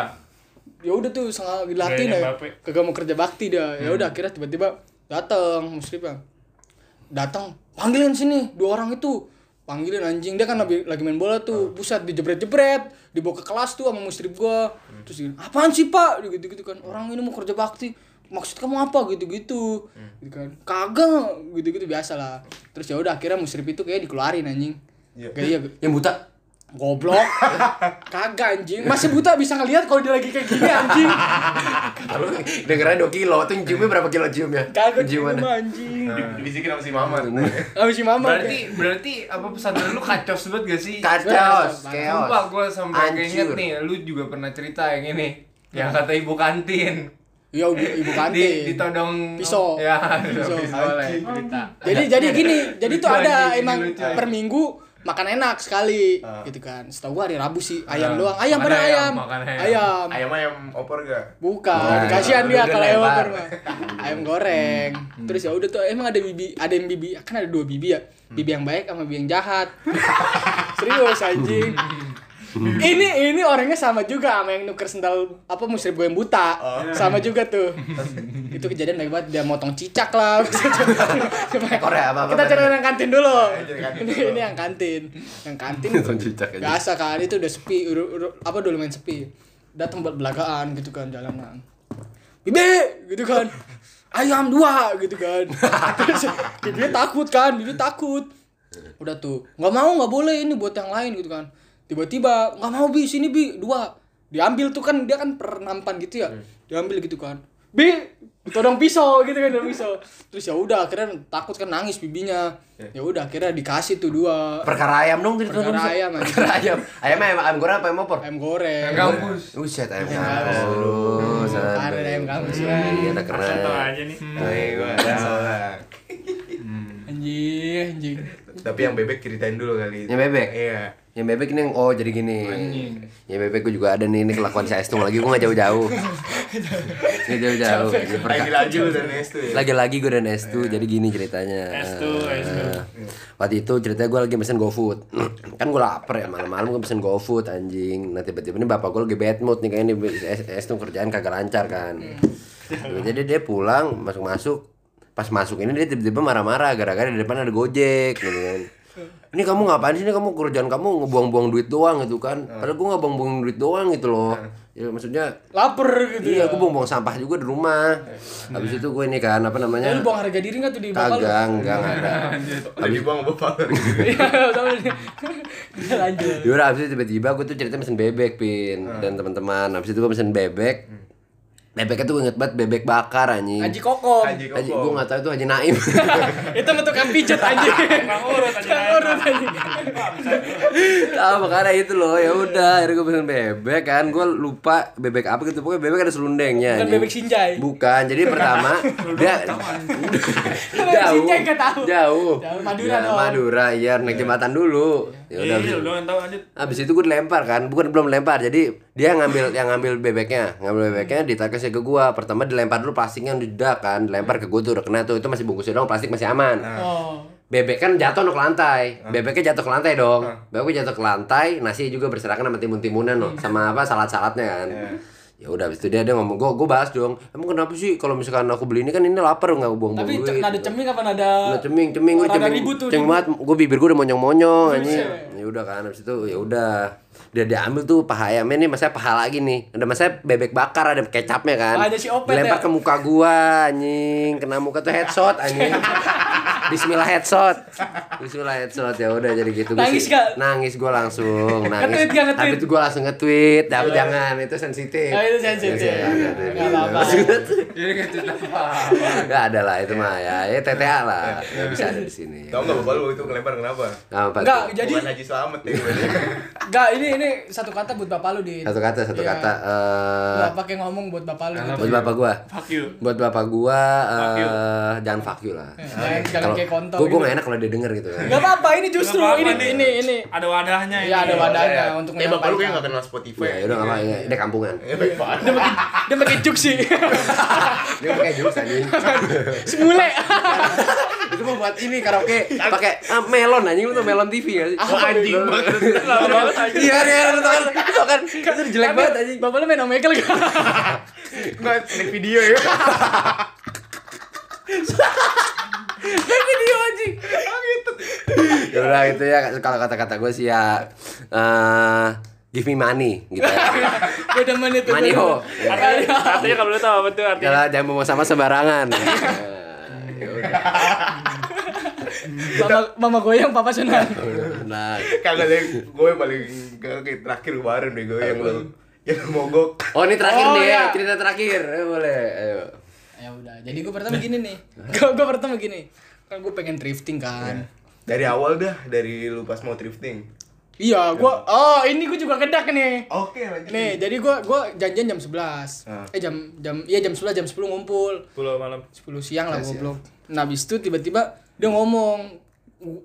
ya udah tuh sangat dilatih
Gayanya
dah
Mbappe.
kagak mau kerja bakti dah
Hmm.
ya udah akhirnya tiba-tiba datang muslim bang datang panggilin sini dua orang itu panggilin anjing dia kan lagi, lagi main bola
Ah.
tuh pusat dijebret-jebret dibawa ke kelas tuh sama muslim gua
Hmm.
terus gini, apaan sih pak gitu gitu kan orang ini mau kerja bakti maksud kamu apa gitu gitu
Hmm.
gitu kan kagak gitu gitu biasa lah terus ya udah akhirnya muslim itu kayak dikeluarin anjing
Iya.
kayak iya
Yang buta.
Goblok. Kagak anjing. Masih buta bisa ngelihat kalau dia lagi kayak gini anjing.
Kalau dengerannya 2 kilo, tuh ciumnya berapa kilo ciumnya?
Kagak
Cium
cuma
mana?
anjing.
Dibisikin sama si mama.
Habis si mama.
Berarti berarti apa pesantren lu kacau banget gak sih?
Kacau,
Sumpah
keos.
gue sampai keinget
Hancur.
nih, lu juga pernah cerita yang ini Yang kata ibu kantin
Ya ibu, ibu kantin.
Di, ditodong
Pisau.
Ya,
Pisau.
pisau boleh cerita
Jadi jadi gini, jadi tuh
Lucu
ada
anjing, ini
emang
lucu.
per minggu makan enak sekali gitu kan. Setahu gua hari Rabu sih ayam
Ah.
doang. Ayam
Makan
mana
ayam,
ayam?
makan ayam.
Ayam.
Ayam ayam opor gak?
Bukan,
Nah,
kasihan
iya.
dia kalau ayam
Lempar.
opor mah. Ayam goreng. Terus ya udah tuh emang ada bibi, ada yang bibi, kan ada dua bibi ya. Bibi yang baik sama bibi yang jahat. Serius anjing. ini ini orangnya sama juga sama yang nuker sendal apa musrib gue yang buta. Sama juga tuh. Itu kejadian baik banget dia motong cicak lah.
Ekor ya, apa-apa.
Kita cari yang kantin dulu.
cari kantin
ini,
dulu.
ini yang kantin. Yang kantin
Nonton cicak aja.
biasa kan itu udah sepi udah, udah- apa udah lumayan sepi datang buat belagaan gitu kan jalanan bibi gitu kan ayam dua gitu kan terus bibi takut kan bibi takut udah tuh nggak mau nggak boleh ini buat yang lain gitu kan tiba-tiba nggak mau bi sini bi dua diambil tuh kan dia kan pernampan gitu ya diambil gitu kan bi todong pisau gitu kan todong pisau terus ya udah akhirnya takut kan nangis bibinya ya udah akhirnya dikasih tuh dua
Perkara ayam dong tadi
Perkara
tuh, Nusa.
ayam, anjing.
Perkara ayam. Ayam ayam ayam goreng apa ayam opor?
ayam goreng
Yang kampus
Uset ayam
Ayam
kampus.
kampus.
Aduh, santai.
Ada ayam kampus, kan.
Iya, anak keren.
Contoh aja
Iya.
nih.
Ayo, Iya, gua.
Anjing, anjing.
Tapi yang bebek ceritain dulu kali.
Yang bebek?
Iya.
Yang bebek ini yang oh jadi gini. Yang bebek gue juga ada nih ini kelakuan saya Estung lagi gue nggak jauh-jauh. Nggak jauh-jauh. Ini
Lagi
perka-
laju dan itu ya.
Lagi-lagi gue dan Estu jadi gini ceritanya.
Estu, Estu.
Eh, Waktu itu ceritanya gue lagi pesen GoFood. kan gue lapar ya malam-malam gue pesen GoFood anjing. Nah tiba-tiba ini bapak gue lagi bad mood nih kayaknya nih, Es- Estu kerjaan kagak lancar kan. Jadi dia pulang masuk-masuk pas masuk ini dia tiba-tiba marah-marah gara-gara di depan ada Gojek gitu kan ini kamu ngapain sih ini kamu kerjaan kamu ngebuang-buang duit doang gitu kan padahal gue ngebuang-buang duit doang gitu loh ya maksudnya
Laper gitu ya.
iya gue buang-buang sampah juga di rumah habis itu gue ini kan apa
Ya,
namanya
lu buang harga diri nggak tuh di bapak lu?
kagak enggak enggak ada
Udah dibuang bapak.
Iya, sama dia. Dia lanjut.
Yaudah Ya habis itu tiba-tiba gue tuh cerita pesen bebek pin
Hmm.
dan teman-teman habis itu gue pesen bebek bebeknya tuh gue inget banget bebek bakar anjing
Haji Kokom.
Haji
Haji
Kopo.
gue nggak tahu itu Haji Naim
Itu bentukan pijet anjing.
Bang urut aja.
Kan urut anjing.
Ah, makanya itu loh. Ya udah, akhirnya gue pesen bebek kan. Gue lupa bebek apa gitu. Pokoknya bebek ada selundengnya.
Bukan
anjing.
bebek Sinjai.
Bukan. Jadi pertama dia
Bebek Sinjai nggak tahu.
Jauh.
Jauh, Madura
Ya,
dong.
Madura, iya naik jembatan dulu. Ya udah.
Iya, lu yang tahu lanjut.
Abis itu gue dilempar kan, bukan belum lempar. Jadi dia ngambil yang ngambil bebeknya, ngambil bebeknya ditarik sih ke gua. Pertama dilempar dulu plastiknya udah kan, dilempar ke gua tuh udah kena tuh. Itu masih bungkusnya dong, plastik masih aman
Oh.
bebek kan jatuh no ke lantai bebeknya jatuh ke lantai dong bebeknya jatuh ke lantai nasi juga berserakan sama timun-timunan loh sama apa salad-saladnya kan ya udah habis itu dia dia ngomong gue gue bahas dong emang kenapa sih kalau misalkan aku beli ini kan ini lapar nggak buang buang
Tapi
duit
cek nada
gitu.
ceming apa nada
Nah, ceming, ceming, gue
Rada
ceming,
ribut tuh,
ceming
ribut.
banget. Gue bibir gue udah monyong-monyong anjing.
iya.
Ya udah kan, habis itu ya udah. Dia diambil tuh paha ayamnya nih, masanya paha lagi nih. Ada masanya bebek bakar, ada kecapnya kan.
Ah, ada si Opet ya?
Dilempar ke muka gua anjing, kena muka tuh headshot anjing. Bismillah headshot. Bismillah headshot ya udah jadi gitu. Gua
Nangis
sih-
nggak?
Nangis gua langsung. Nangis.
Nge-tweet nggak, nge-tweet? Iya.
Tapi itu gua langsung nge-tweet. Tapi jangan, itu sensitif.
Ah, itu sensitif.
Iya, iya, iya, iya.
Nggak apa-apa.
Jadi kayak cerita apa?
Gak ada lah itu mah ya, ya TTA lah,
Iya.
nggak bisa ada di sini.
Tau nggak bapak lu itu kelempar kenapa?
Nah, apa
Enggak,
tuh?
jadi
Bukan Haji Slamet ya gue.
enggak ini ini satu kata buat bapak lu di.
satu kata satu
Iya.
kata. eh,
Nggak pakai ngomong buat bapak lu gitu.
buat bapak gua,
Fuck you.
buat bapak gua
Fuck you.
eh jangan fuck you lah.
Ya, jangan
Kalau
kayak kontol.
gua gua
gitu.
gak enak kalau dia denger gitu kan.
Gak apa-apa ini justru
Nggak
ini
apa-apa nih.
ini ini.
Ada wadahnya ini.
Iya ada wadahnya untuk
Eh bapak lu kayak
menyampaikan.
nggak kenal
Ya
Spotify.
udah nggak apa ya, dia kampungan.
Eh, baik banget.
Dia pakai dia pakai juk sih.
Dia pakai jurus anjing.
Semule.
Itu mau buat ini karaoke pakai ah, melon anjing lu tuh melon TV gak sih?
Ah,
Anjing banget.
Iya, iya, lu tau kan, lu tau kan, itu jelek banget anjing.
Bapak lu main omekel gak?
Nggak, ini video ya.
Video anjing.
ya udah gitu ya kalau kata-kata gue sih ya eh give me money gitu ya.
Gue demen itu. Iya.
Money ho.
Artinya, artinya kalau lu tahu apa tuh artinya.
Jangan jangan mau sama sembarangan. Ya udah.
Mama, mama goyang papa senang.
Iya.
Nah,
Kagak deh, gue paling kayak terakhir kemarin deh gue yang lu yang lu mogok.
oh ini terakhir
Oh,
nih ya,
iya.
cerita terakhir. Eh, boleh. Ayo.
Ya udah. Jadi gue pertama gini nih. Gue gue pertama gini. Kan gue pengen drifting kan.
Dari awal dah, dari lu pas mau drifting.
Iya, gue oh ini gue juga kedak nih.
Oke, lanjut.
Nih, jadi gue gua janjian jam 11.
Ah.
Eh jam jam iya jam 11 jam 10 ngumpul.
Pulau malam.
10 siang lah goblok. Nah, habis itu tiba-tiba dia ngomong,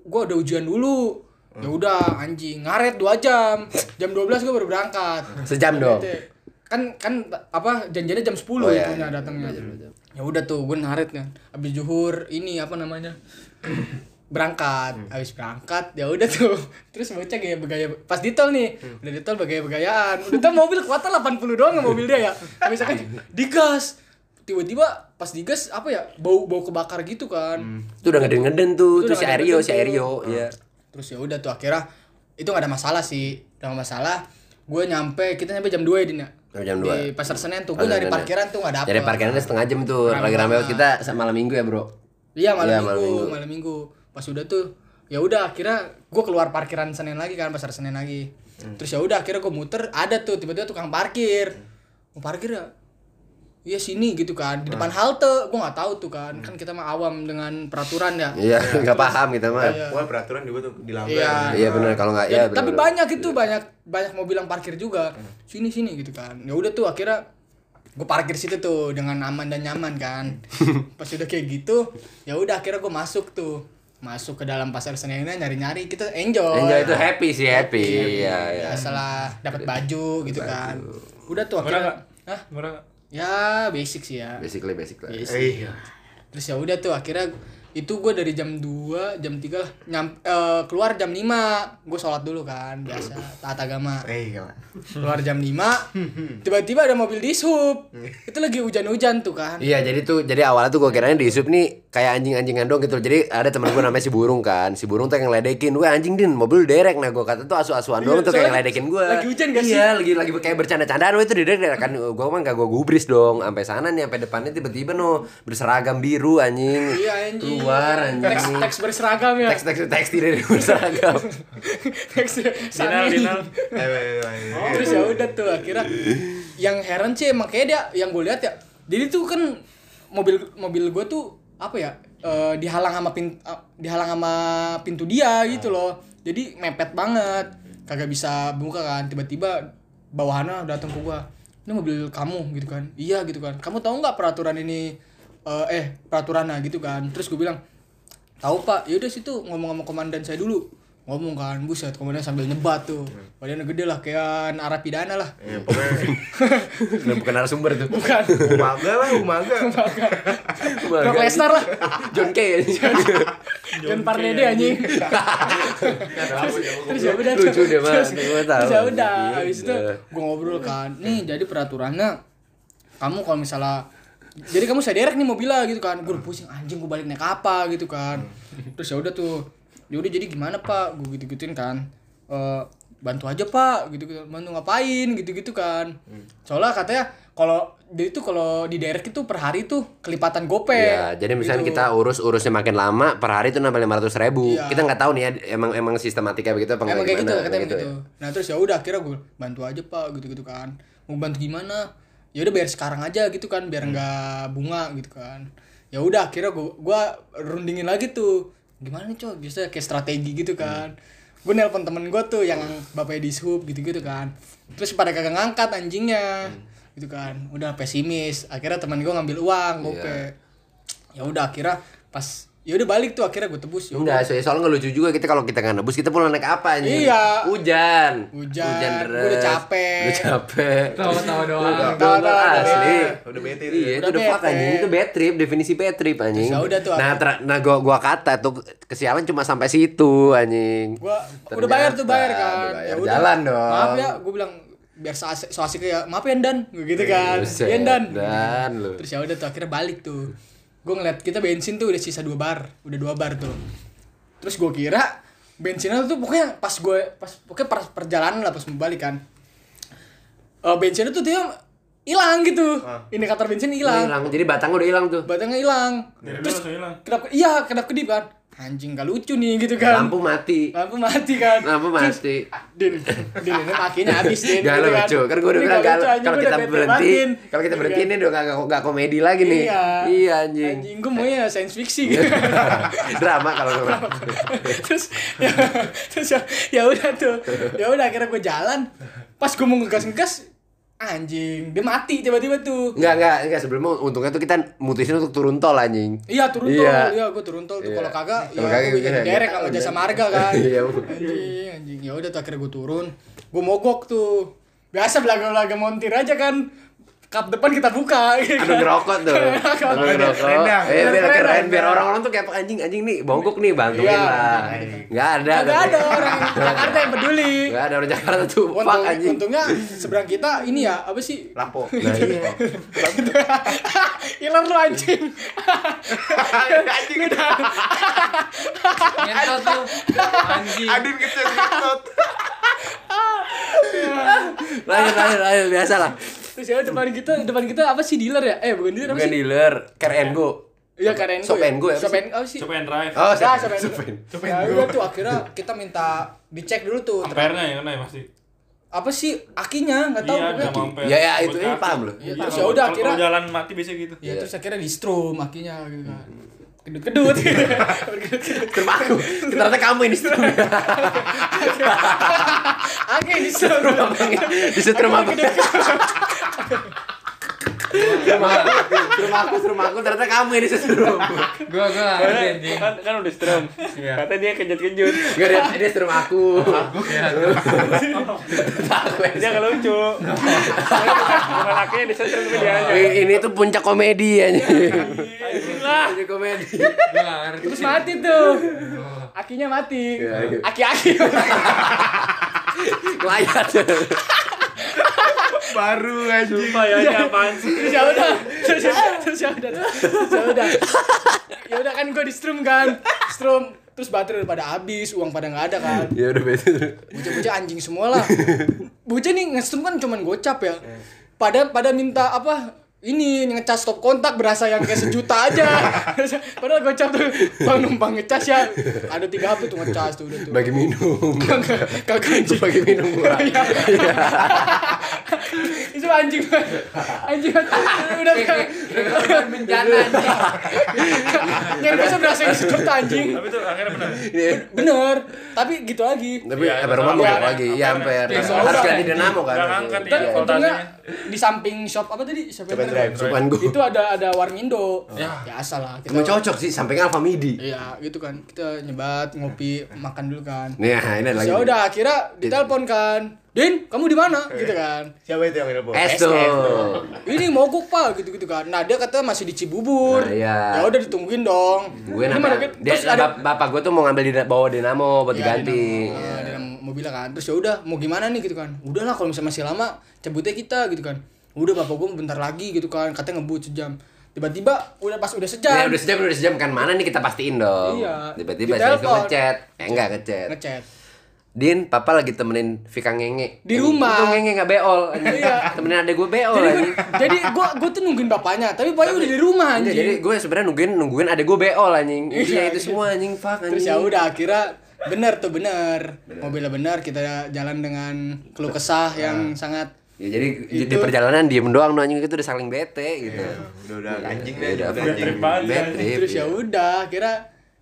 "Gua ada ujian dulu." Ya udah, anjing, ngaret 2 jam. Jam 12 gua baru berangkat.
Sejam dong.
Kan kan apa janjiannya jam 10
Oh,
ya
iya,
punya
iya.
datangnya. Ya udah tuh, gua ngaret kan. Habis zuhur ini apa namanya? berangkat
Hmm.
habis berangkat ya udah tuh terus bocah gaya bergaya pas ditol nih
Hmm.
udah ditol bergaya bergayaan udah tau mobil kuatan 80 doang ya mobil dia ya misalkan digas tiba-tiba pas digas apa ya bau bau kebakar gitu kan
Itu udah ngeden-ngeden tuh,
Itu udah
tuh si Ario,
ngeden-ngeden
si
tuh.
Ario, ya.
terus ya udah tuh akhirnya itu gak ada masalah sih gak ada masalah gue nyampe kita nyampe jam 2 ya Din ya
Oh, jam
di
2.
pasar senen tuh gue
Oh, jam
dari
dua.
parkiran tuh gak dapet
Dari parkirannya setengah jam tuh,
Rame
lagi rame
banget.
banget. kita sa- malam minggu ya, Bro.
Iya malam,
Iya,
minggu,
malam
malam
minggu.
minggu, Pas udah tuh, ya udah akhirnya gue keluar parkiran Senin lagi kan pasar Senin lagi.
Hmm.
Terus ya udah akhirnya gue muter, ada tuh tiba-tiba tukang parkir.
Hmm.
Mau parkir ya? Iya sini gitu kan
Nah.
di depan halte, gue nggak tahu tuh kan.
Hmm.
Kan kita mah awam dengan peraturan ya.
Iya, nggak paham kita mah.
Iya.
Wah, peraturan juga tuh dilanggar.
Iya.
Iya benar kalau nggak ya.
Jadi- tapi
benar-benar. Hmm.
banyak itu banyak banyak mobil yang parkir juga sini sini gitu kan ya udah tuh akhirnya gue parkir situ tuh dengan aman dan nyaman kan pas udah kayak gitu ya udah akhirnya gue masuk tuh masuk ke dalam pasar senennya nyari nyari kita enjoy
Enjoy itu happy sih, happy. Iya, iya.
ya salah dapat baju gitu kan udah tuh
Murah
akhirnya
nggak?
Hah?
Murah.
ya basic sih ya
iya. Basically, basically.
basic
Iya.
terus ya udah tuh akhirnya itu gue dari jam 2, jam 3 lah nyam- eh, keluar jam 5 gue sholat dulu kan biasa taat agama
Iya.
keluar jam 5 tiba-tiba ada mobil dishub itu lagi hujan-hujan tuh kan
Iya jadi tuh jadi awalnya tuh gue kirain di Yusuf nih kayak anjing-anjingan dong gitu Jadi ada temen gue namanya si Burung kan Si Burung tuh yang ngeledekin Gue anjing din mobil derek Nah gue kata tuh asu-asuan doang
Iya,
tuh kayak
soalnya
ngeledekin gue
lagi hujan gak sih?
Iya lagi lagi kayak bercanda-candaan Wah itu derek derek kan Gue mah gak gue gubris dong Sampai sana nih sampai depannya tiba-tiba no Berseragam biru anjing
iya anjing
Keluar
teks
anjing
teks berseragam ya
Teks teks teks tidak berseragam
teks
Dinal,
Sani.
dinal.
Eh, eh, eh, eh.
terus ya udah tuh akhirnya yang heran sih emang kayak dia yang gue lihat ya jadi tuh kan mobil mobil gue tuh apa ya eh, dihalang sama pin eh, dihalang sama pintu dia gitu loh jadi mepet banget kagak bisa buka kan tiba-tiba bawahannya datang ke gue ini mobil kamu gitu kan iya gitu kan kamu tahu nggak peraturan ini eh, eh peraturannya gitu kan terus gue bilang tahu pak yaudah situ ngomong sama komandan saya dulu ngomong kan buset komandan sambil nyebat tuh badannya gede lah kayak narapidana lah
Ya, pokoknya
Nah, bukan narasumber tuh
bukan
eh. umaga lah, umaga.
Brock Lesnar lah
John Kay anjing.
John Parlede anjing. Terus ya udah.
Lucu deh, Mas.
Terus
Gua tahu. Iya.
terus ya udah.
Gila.
Habis itu gue ngobrol kan. Nih jadi peraturannya kamu kalau misalnya jadi kamu saya derek nih mobilnya gitu kan. Gue pusing anjing gue balik naik apa gitu kan. Terus ya udah tuh. Ya udah jadi gimana Pak? Gue gitu-gituin kan. Eh bantu aja Pak gitu gitu. Bantu ngapain gitu-gitu kan. Soalnya katanya kalau dia itu kalau di derek itu per hari tuh kelipatan gope.
Ya, jadi misalnya kita urus urusnya makin lama per hari itu nambah lima ratus ribu.
gitu. Iya.
Kita nggak tahu nih ya emang emang sistematika begitu apa
emang
nggak
kayak gitu
gimana,
katanya
gitu
gitu.
ya.
Nah terus ya udah akhirnya gue bantu aja pak gitu-gitu kan. Mau bantu gimana? Ya udah biar sekarang aja gitu kan biar nggak bunga gitu kan. Ya udah akhirnya gue gua rundingin lagi tuh. Gimana nih coy? Biasanya kayak strategi gitu kan. Gue nelpon temen gue tuh yang bapaknya di sub gitu-gitu kan. Terus pada kagak ngangkat anjingnya. Gitu kan. Udah pesimis. Akhirnya temen gue ngambil uang gope. Ya udah akhirnya pas ya udah balik tuh akhirnya gue tebus. Ya
Enggak, soalnya, soalnya nggak lucu juga kita kalau kita nggak nebus kita pulang naik apa anjing?
Iya.
Hujan.
Hujan,
deres.
gua udah capek.
Udah capek.
Tawa-tawa doang.
Tawa-tawa doang.
asli.
Eh, Udah bete itu.
Iya, itu
Udah
udah fuck
bete.
anjing, itu bad trip, definisi bad trip anjing.
Terus ya udah tuh,
nah,
aku-
tra- nah gua gua kata tuh kesialan cuma sampai situ anjing.
gua udah bayar tuh bayar
Ternyata,
kan
udah bayar.
udah.
Jalan dong.
maaf ya gue bilang biar so asik, so asik ya maaf ya dan Gua gitu kan
Iya, Buset,
ya dan
Dan lu.
terus ya udah tuh akhirnya balik tuh gue ngeliat kita bensin tuh udah sisa dua bar udah dua bar tuh terus gue kira bensinnya tuh pokoknya pas gue pas pokoknya pas perjalanan lah pas mau balik kan Eh bensinnya tuh dia hilang gitu indikator bensin hilang
Hilang. Jadi batang udah hilang tuh.
batangnya hilang terus kedap iya kedap kedip kan anjing gak lucu nih gitu kan
Lampu mati.
lampu mati kan
Lampu mati.
Din, Din ini makinnya habis Din.
Gak
gitu
lucu, kan gue udah
Ini
bilang
nggak
kalau
lucu, anjing,
kalau
gua
kita
udah bete
berhenti,
banget, Din.
kalau kita
Gitu
berhenti
kan.
ini udah gak, gak komedi lagi nih.
Iya.
Iya anjing.
Anjing gue maunya science fiction gitu.
Drama kalau gue.
terus ya, terus ya, ya udah tuh. Ya udah akhirnya gue jalan. Pas gue mau ngegas-ngegas anjing, dia mati tiba-tiba tuh.
Enggak, enggak, enggak sebelumnya untungnya tuh kita mutusin untuk turun tol anjing.
Iya turun tol,
Iya.
iya gue turun tol tuh
Iya.
kalau kagak ya
Kalau kagak
gue bikin
gimana?
derek sama jasa marga kan.
Iya.
Anjing, anjing. Ya udah tuh akhirnya gue turun. Gue mogok tuh. Biasa belaga-belaga montir aja kan. Kap depan kita buka gitu.
Aduh
kan.
ngerokok tuh. Aduh
Biar
ngerokok.
keren dah.
Eh, biar
Biar keren
keren,
dah.
biar orang-orang tuh kayak anjing anjing nih bongkok nih bantuin
Iya.
lah. Enggak ada.
Kagak
tapi-
ada orang Jakarta yang peduli.
Enggak ada orang Jakarta tuh. Fuck
Untung,
anjing.
untungnya seberang kita ini ya apa sih?
Lapo.
Nah, iya.
Iler lu anjing.
Ah, Anjing udah.
Ngentot tuh. Anjing.
Adin kecil ngetot.
Lanjut, lanjut, lanjut biasa lah.
Terus ya depan kita depan kita apa sih dealer ya? Eh bukan dealer apa
Bukan
sih?
dealer, care and go.
Iya karen
Shop and go ya, apa
Shop
sih?
and- apa sih?
Coba and drive.
Oh,
Nah,
siapa-
shop and
siapa ini?
go. Ya udah tuh akhirnya kita minta dicek dulu tuh.
Ampere-nya ya kena ya pasti.
Apa sih akinya? Enggak tahu
Iya,
pokoknya.
sama ampere.
Ya, ya, itu
Buat
ini
kartu.
paham loh.
Iya,
Terus ya
kalau-
udah,
kalau-
akhirnya-
kalau jalan mati biasanya gitu.
Iya.
Ya terus akhirnya di strum akinya gitu kan.
Hmm.
Kedut-kedut. Kedut-kedut.
Terus aku, ternyata kamu ini setrum.
Aki di strum.
Di setrum apa? Setrum aku, setrum aku, setrum aku, ternyata kamu ini setrum.
Gua gua nggak ngerti anjing.
Kan, kan udah strum.
Iya.
Kata dia kejut-kejut.
Enggak dia, dia setrum aku.
Iya.
Aku yang
Dia nggak lucu. Bukan akhirnya disetrum tapi dia aja.
Ini ini tuh puncak komedi ya.
Anjing lah.
Puncak komedi.
Gua nggak ngerti.
Terus mati tuh. Akinya mati.
Oh. Iya, iya.
Aki-aki.
Kelayat.
Baru anjing.
Sumpah ya, ini apaan sih?
terus ya udah terus ya terus ya udah terus ya udah ya udah kan gue di strum kan strum terus baterai udah pada habis uang pada nggak ada kan
Ya udah betul.
bocah-bocah anjing semua lah bocah nih ngestrum kan cuman gocap ya pada pada minta apa ini ngecas stop kontak berasa yang kayak sejuta aja padahal gocap tuh bang numpang ngecas ya ada tiga hp tuh ngecas tuh udah tuh
Bagi minum.
Kagak- kagak anjing
Bagi minum gua.
Iya. itu anjing banget. anjing banget. udah
Eh,
kayak
Korban bencana anjing.
eh,
nyari bahasa berasa yang sedot anjing
Tapi tuh akhirnya benar.
Ini-
bener tapi gitu lagi
Tapi
Iya,
ya, rumah
iya,
mau
iya,
lagi.
iya,
Ya hampir.
iya,
Harus
iya,
ganti
iya.
dinamo kan.
Nggak ngangkat,
Iya,
iya.
dan untungnya di samping shop apa tadi shop
Coba
yang
drive, Oh.
tadi?
sopan
iya.
gua.
itu ada ada warmindo biasa lah
Cuma
kita
cocok sih, sampingnya Alfa Midi.
iya gitu kan kita nyebat ngopi makan dulu kan
Nih, Nah. Eh. ini ada
Terus
lagi.
ya udah akhirnya ditelepon kan In, kamu di mana? Gitu kan.
Siapa itu yang nelpon?
Es tuh.
Ini mogok pak, gitu gitu kan. Nah dia kata masih di Cibubur.
Nah, iya.
Ya udah ditungguin dong.
Gue
Ini
nanya,
mana, Kit?
dia,
Terus ada
bap- bapak gue tuh mau ngambil di bawa dinamo buat
Ya,
diganti.
di dalam- eh, di dalam mobilnya kan terus ya udah mau gimana nih gitu kan udahlah kalau misalnya masih lama cabutnya kita gitu kan udah bapak gue bentar lagi gitu kan katanya ngebut sejam tiba-tiba udah pas udah
Ya
sejam
udah sejam udah sejam kan mana nih kita pastiin dong.
Iya. Di
Tiba-tiba saya
telepon.
ngechat, eh enggak ngechat.
ngechat
Din, papa lagi temenin Vika ngenge.
Di rumah.
Untung ngenge nggak beol. anjing.
Iya.
temenin adek gue beol.
jadi
anjing.
jadi gue gue tuh nungguin bapaknya tapi bapaknya udah di rumah
Enggak,
anjing
iya, jadi gue sebenarnya nungguin nungguin adek gue beol anjing.
Iya,
Iya itu semua anjing fuck anjing.
terus ya udah akhirnya bener tuh bener, mobilnya bener kita jalan dengan keluh kesah yang sangat
Ya jadi di perjalanan diem doang no, anjing itu udah saling bete gitu.
Iya.
Udah udah anjing
Ya, udah
deh. Iya, Udah
apa
anjing.
Bad trip.
terus
iya.
ya udah akhirnya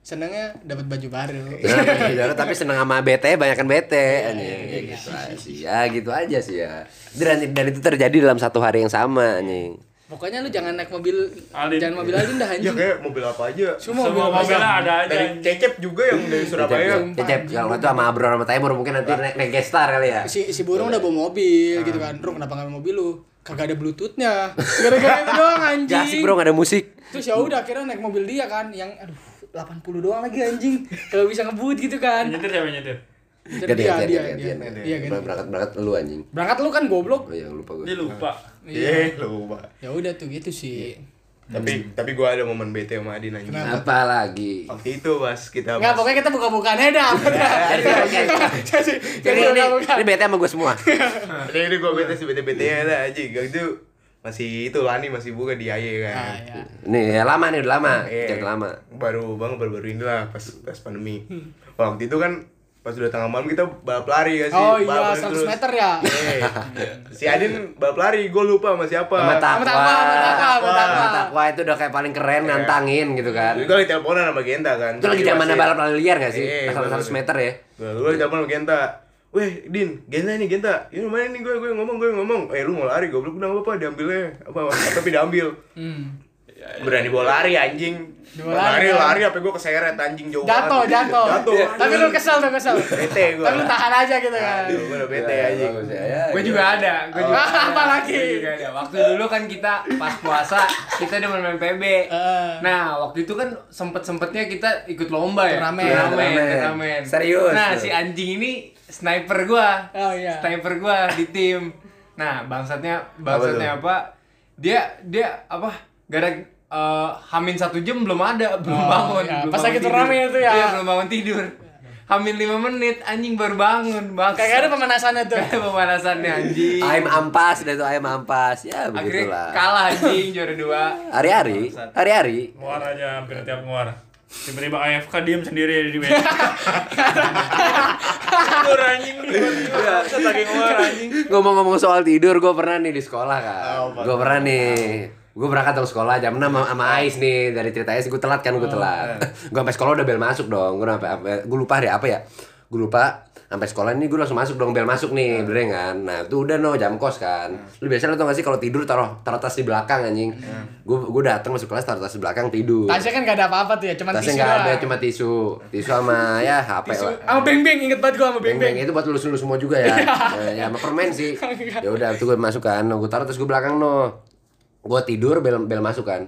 senengnya dapat baju baru
Nah,
iya.
saudara, tapi seneng sama bete banyakan bete anjing. Ya, gitu
iya,
aja sih ya gitu aja sih ya dan, dan itu terjadi dalam satu hari yang sama anjing
pokoknya lu jangan naik mobil
Alin.
jangan mobil aja dah
Ya
anjing
kayak mobil apa aja.
Iya, Semua
Semua mobilnya ada aja.
Dari Cecep juga yang dari Surabaya.
Cecep, Cecep, kalau nggak tuh sama Abro sama Taimur mungkin nanti naik naik guest star kali ya
si si burung udah bawa mobil gitu kan Rung kenapa nggak bawa mobil lu kagak ada bluetoothnya gara-gara itu doang
Gak asik
anjing
bro gak ada musik
terus ya udah akhirnya naik mobil dia kan yang aduh 80 doang lagi anjing kalau bisa ngebut gitu kan
Nyetir siapa yang nyetir?
Jadi
Ganti
dia
ganti
dia
ganti
dia iya
ganti
ganti.
Berangkat berangkat lu anjing
berangkat lu kan goblok
Oh iya lupa
Dia
gue
lupa.
Iya, lupa.
ya udah tuh gitu sih
Iya.
Tapi tapi gua ada momen bete sama Adin anjing.
Kenapa?
Apa lagi
Waktu itu pas kita
nggak
pas-
pokoknya kita buka-bukaan aja
Iya.
dah Iya.
Ini, ini, ini bete sama gue semua
Ini ini gua bete sih bete-bete ya lah anjing. Gak itu masih itu Lani masih buka di AY
Nah,
kan.
ya.
Nih ya, lama nih udah lama
Iya.
Cerita lama
Baru bang baru-baru ini lah pas pas pandemi. Waktu itu kan pas udah tengah malam kita balap lari ya sih.
oh iya
Balap lari
100
terus.
meter ya
Eh, si Adin balap lari, gue lupa sama siapa.
Sama
Sama takwa,
takwa
sama takwa, sama takwa. Iya.
Sama takwa itu udah kayak paling keren ngantangin gitu kan
Itu lagi teleponan sama Genta kan.
Itu lagi zamannya balap lari liar gak sih?
Iya,
Asal
bener-bener.
100 meter ya.
Gue lagi telepon sama kan Genta. Weh, Din, Genta nih, Genta. Ini mana nih gue, gue ngomong, gue ngomong. Eh, lu mau lari, goblok, udah apa-apa, diambilnya. Apa, tapi diambil.
Hmm.
Berani bawa lari, anjing.
Bawa lari,
Lari,
kan?
lari, apa gue keseret, anjing jauh
jatuh
banget.
jatuh Iya,
Jatuh.
tapi lu kesel tuh kesel
Bete
tapi
gue.
lu tahan aja gitu kan
Aduh, gue udah bete,
Iya,
anjing.
ya.
Gue juga ada, gue juga ada.
Oh. Apa lagi?
Gua juga ada. Waktu dulu kan kita pas puasa, kita udah main PB.
Eh.
Nah, waktu itu kan sempet-sempetnya kita ikut lomba ya.
Turnamen.
turnamen,
Turnamen.
turnamen.
Serius.
Nah, si anjing ini sniper gua.
Oh, iya.
Sniper gua di tim. Nah, bangsatnya
tuh?
bangsatnya apa? Dia dia apa? Gak ada eh, Hamin satu jam belum ada, belum
Oh,
bangun.
iya.
belum
Pas
bangun
lagi
tidur.
turnamen itu ya.
Iya, belum bangun tidur. Hamin 5 menit, anjing baru bangun, bangsat.
Kagak ada pemanasannya tuh.
Kayak pemanasannya anjing.
Ayam ampas dah tuh ayam ampas. Ya
Akhirnya
begitulah.
kalah anjing juara dua.
Hari-hari, hari-hari.
Nguar aja hampir tiap nguar. Tiba-tiba AFK diem sendiri di meja. Tidur anjing lu. Set lagi nguar anjing.
Ngomong-ngomong soal tidur, gue pernah nih di sekolah kan.
Oh,
Gue pernah nih. Gue berangkat dong sekolah jam 6 sama, sama Ais nih dari cerita Ais gue telat
Oh,
kan gue telat.
iya.
gue sampai sekolah udah bel masuk dong. Gue sampai gue lupa deh apa ya. Gue lupa sampai sekolah ini gue langsung masuk dong bel masuk
Iya.
nih bener kan nah itu udah no jam kos kan lu biasa lu tau gak sih kalau tidur taruh taruh tas di belakang anjing gue gue datang masuk kelas taruh tas di belakang tidur
Iya. Tasnya kan gak ada apa-apa tuh ya, cuman
Tasnya
tisu
nggak ada,
doang.
cuma tisu. Tisu sama ya HP lah.
Sama beng-beng, inget banget gua sama beng-beng.
Beng-beng itu buat lulus lulus semua juga ya. Nah, ya sama permen sih. Ya udah itu gue masuk kan, gue taruh terus gue belakang no. Gue tidur bel bel masuk kan.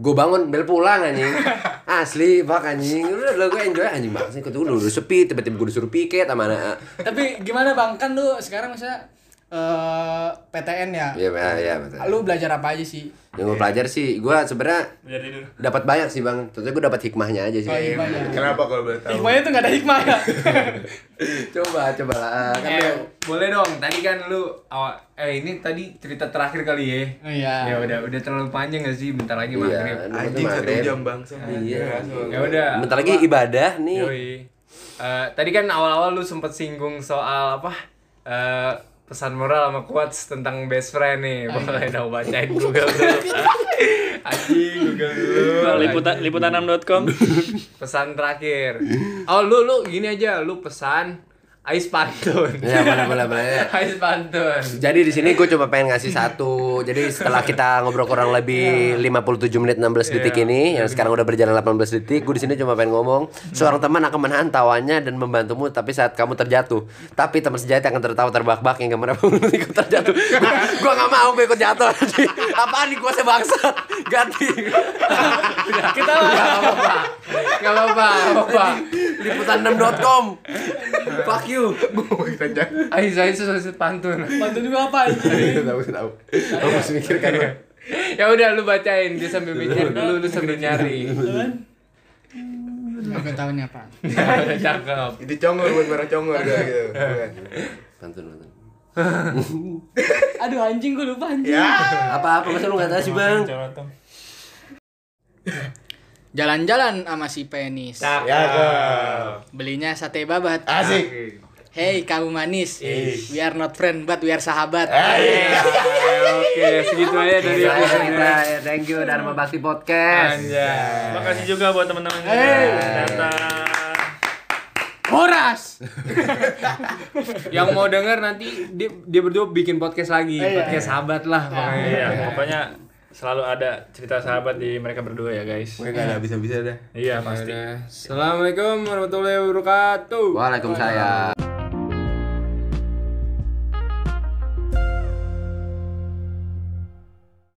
Gue bangun bel pulang anjing. Asli bak anjing. Udah lah gue enjoy anjing banget sih. Ketua udah sepi, tiba-tiba gue disuruh piket sama anak. eh.
Tapi gimana Bang, kan lu sekarang misalnya eh, PTN ya,
Iya, ya, ya betul.
lu belajar apa aja sih?
Yang gue pelajar sih, gue sebenarnya
Biar tidur.
dapat banyak sih bang. Tentunya gue dapat hikmahnya aja sih.
Oh, hikmahnya.
Kenapa kalau boleh tahu?
Hikmahnya tuh gak ada hikmah ya?
coba, coba lah. Kan
Eh, boleh dong. Tadi kan lu awal, eh ini tadi cerita terakhir kali ya.
Oh, Iya.
Ya udah udah terlalu panjang gak sih? Bentar lagi
Iya.
maghrib.
Anjing satu
Kemarin.
jam bangsa.
Iya.
Ya udah.
Bentar lagi ibadah nih.
Yoi. Eh, tadi kan awal-awal lu sempet singgung soal apa? Eh, pesan moral sama quotes tentang best friend nih.
Oh, iya.
Boleh dong bacain Google dulu. Anjing Google dulu.
Liputan liputanam.com.
pesan terakhir oh lu lu gini aja lu pesan Ais pantun.
Ya, boleh, boleh, boleh.
Ais pantun.
Jadi di sini gue cuma pengen ngasih satu. Jadi setelah kita ngobrol kurang lebih 57 menit 16 detik ini yang sekarang udah berjalan 18 detik, gue di sini cuma pengen ngomong, seorang teman akan menahan tawanya dan membantumu tapi saat kamu terjatuh. Tapi teman sejati akan tertawa terbak-bak yang kemana pun ikut terjatuh. gue gak mau gue ikut jatuh. anjing. Apaan nih gue sebangsa? Ganti.
Kita nggak apa-apa. Nggak apa-apa. nggak apa-apa.
Liputan6.com. Fuck you.
Kita jangan.
Ais ais ais pantun.
Bantu juga apa anjing?
Tahu tahu. Kamu harus mikir kan. Bang.
Ya udah lu bacain dia sambil mikir dulu lu sambil nyari.
Gak tau ini apa.
Udah cakep.
Itu congor buat barang congor udah gitu.
Pantun, pantun.
Aduh anjing gue lupa anjing.
Ya.
Apa-apa masa lu gak tahu sih, Bang?
Jalan-jalan sama si penis.
Ya,
Belinya sate babat.
asik.
Hey kamu manis. We are not friend but we are sahabat.
Oke, segitu aja dari
Terima kasih,
episode
Bray. Thank you Dharma Bakti Podcast.
Anjay.
Makasih juga buat teman-teman yang udah datang.
Horas.
Yang mau denger nanti dia, dia berdua bikin podcast lagi, podcast sahabat lah pokoknya.
Iya, pokoknya selalu ada cerita sahabat di mereka berdua ya, guys.
Gue gak ada habis-habisnya dah.
Iya, pasti.
Assalamualaikum warahmatullahi wabarakatuh.
Waalaikumsalam.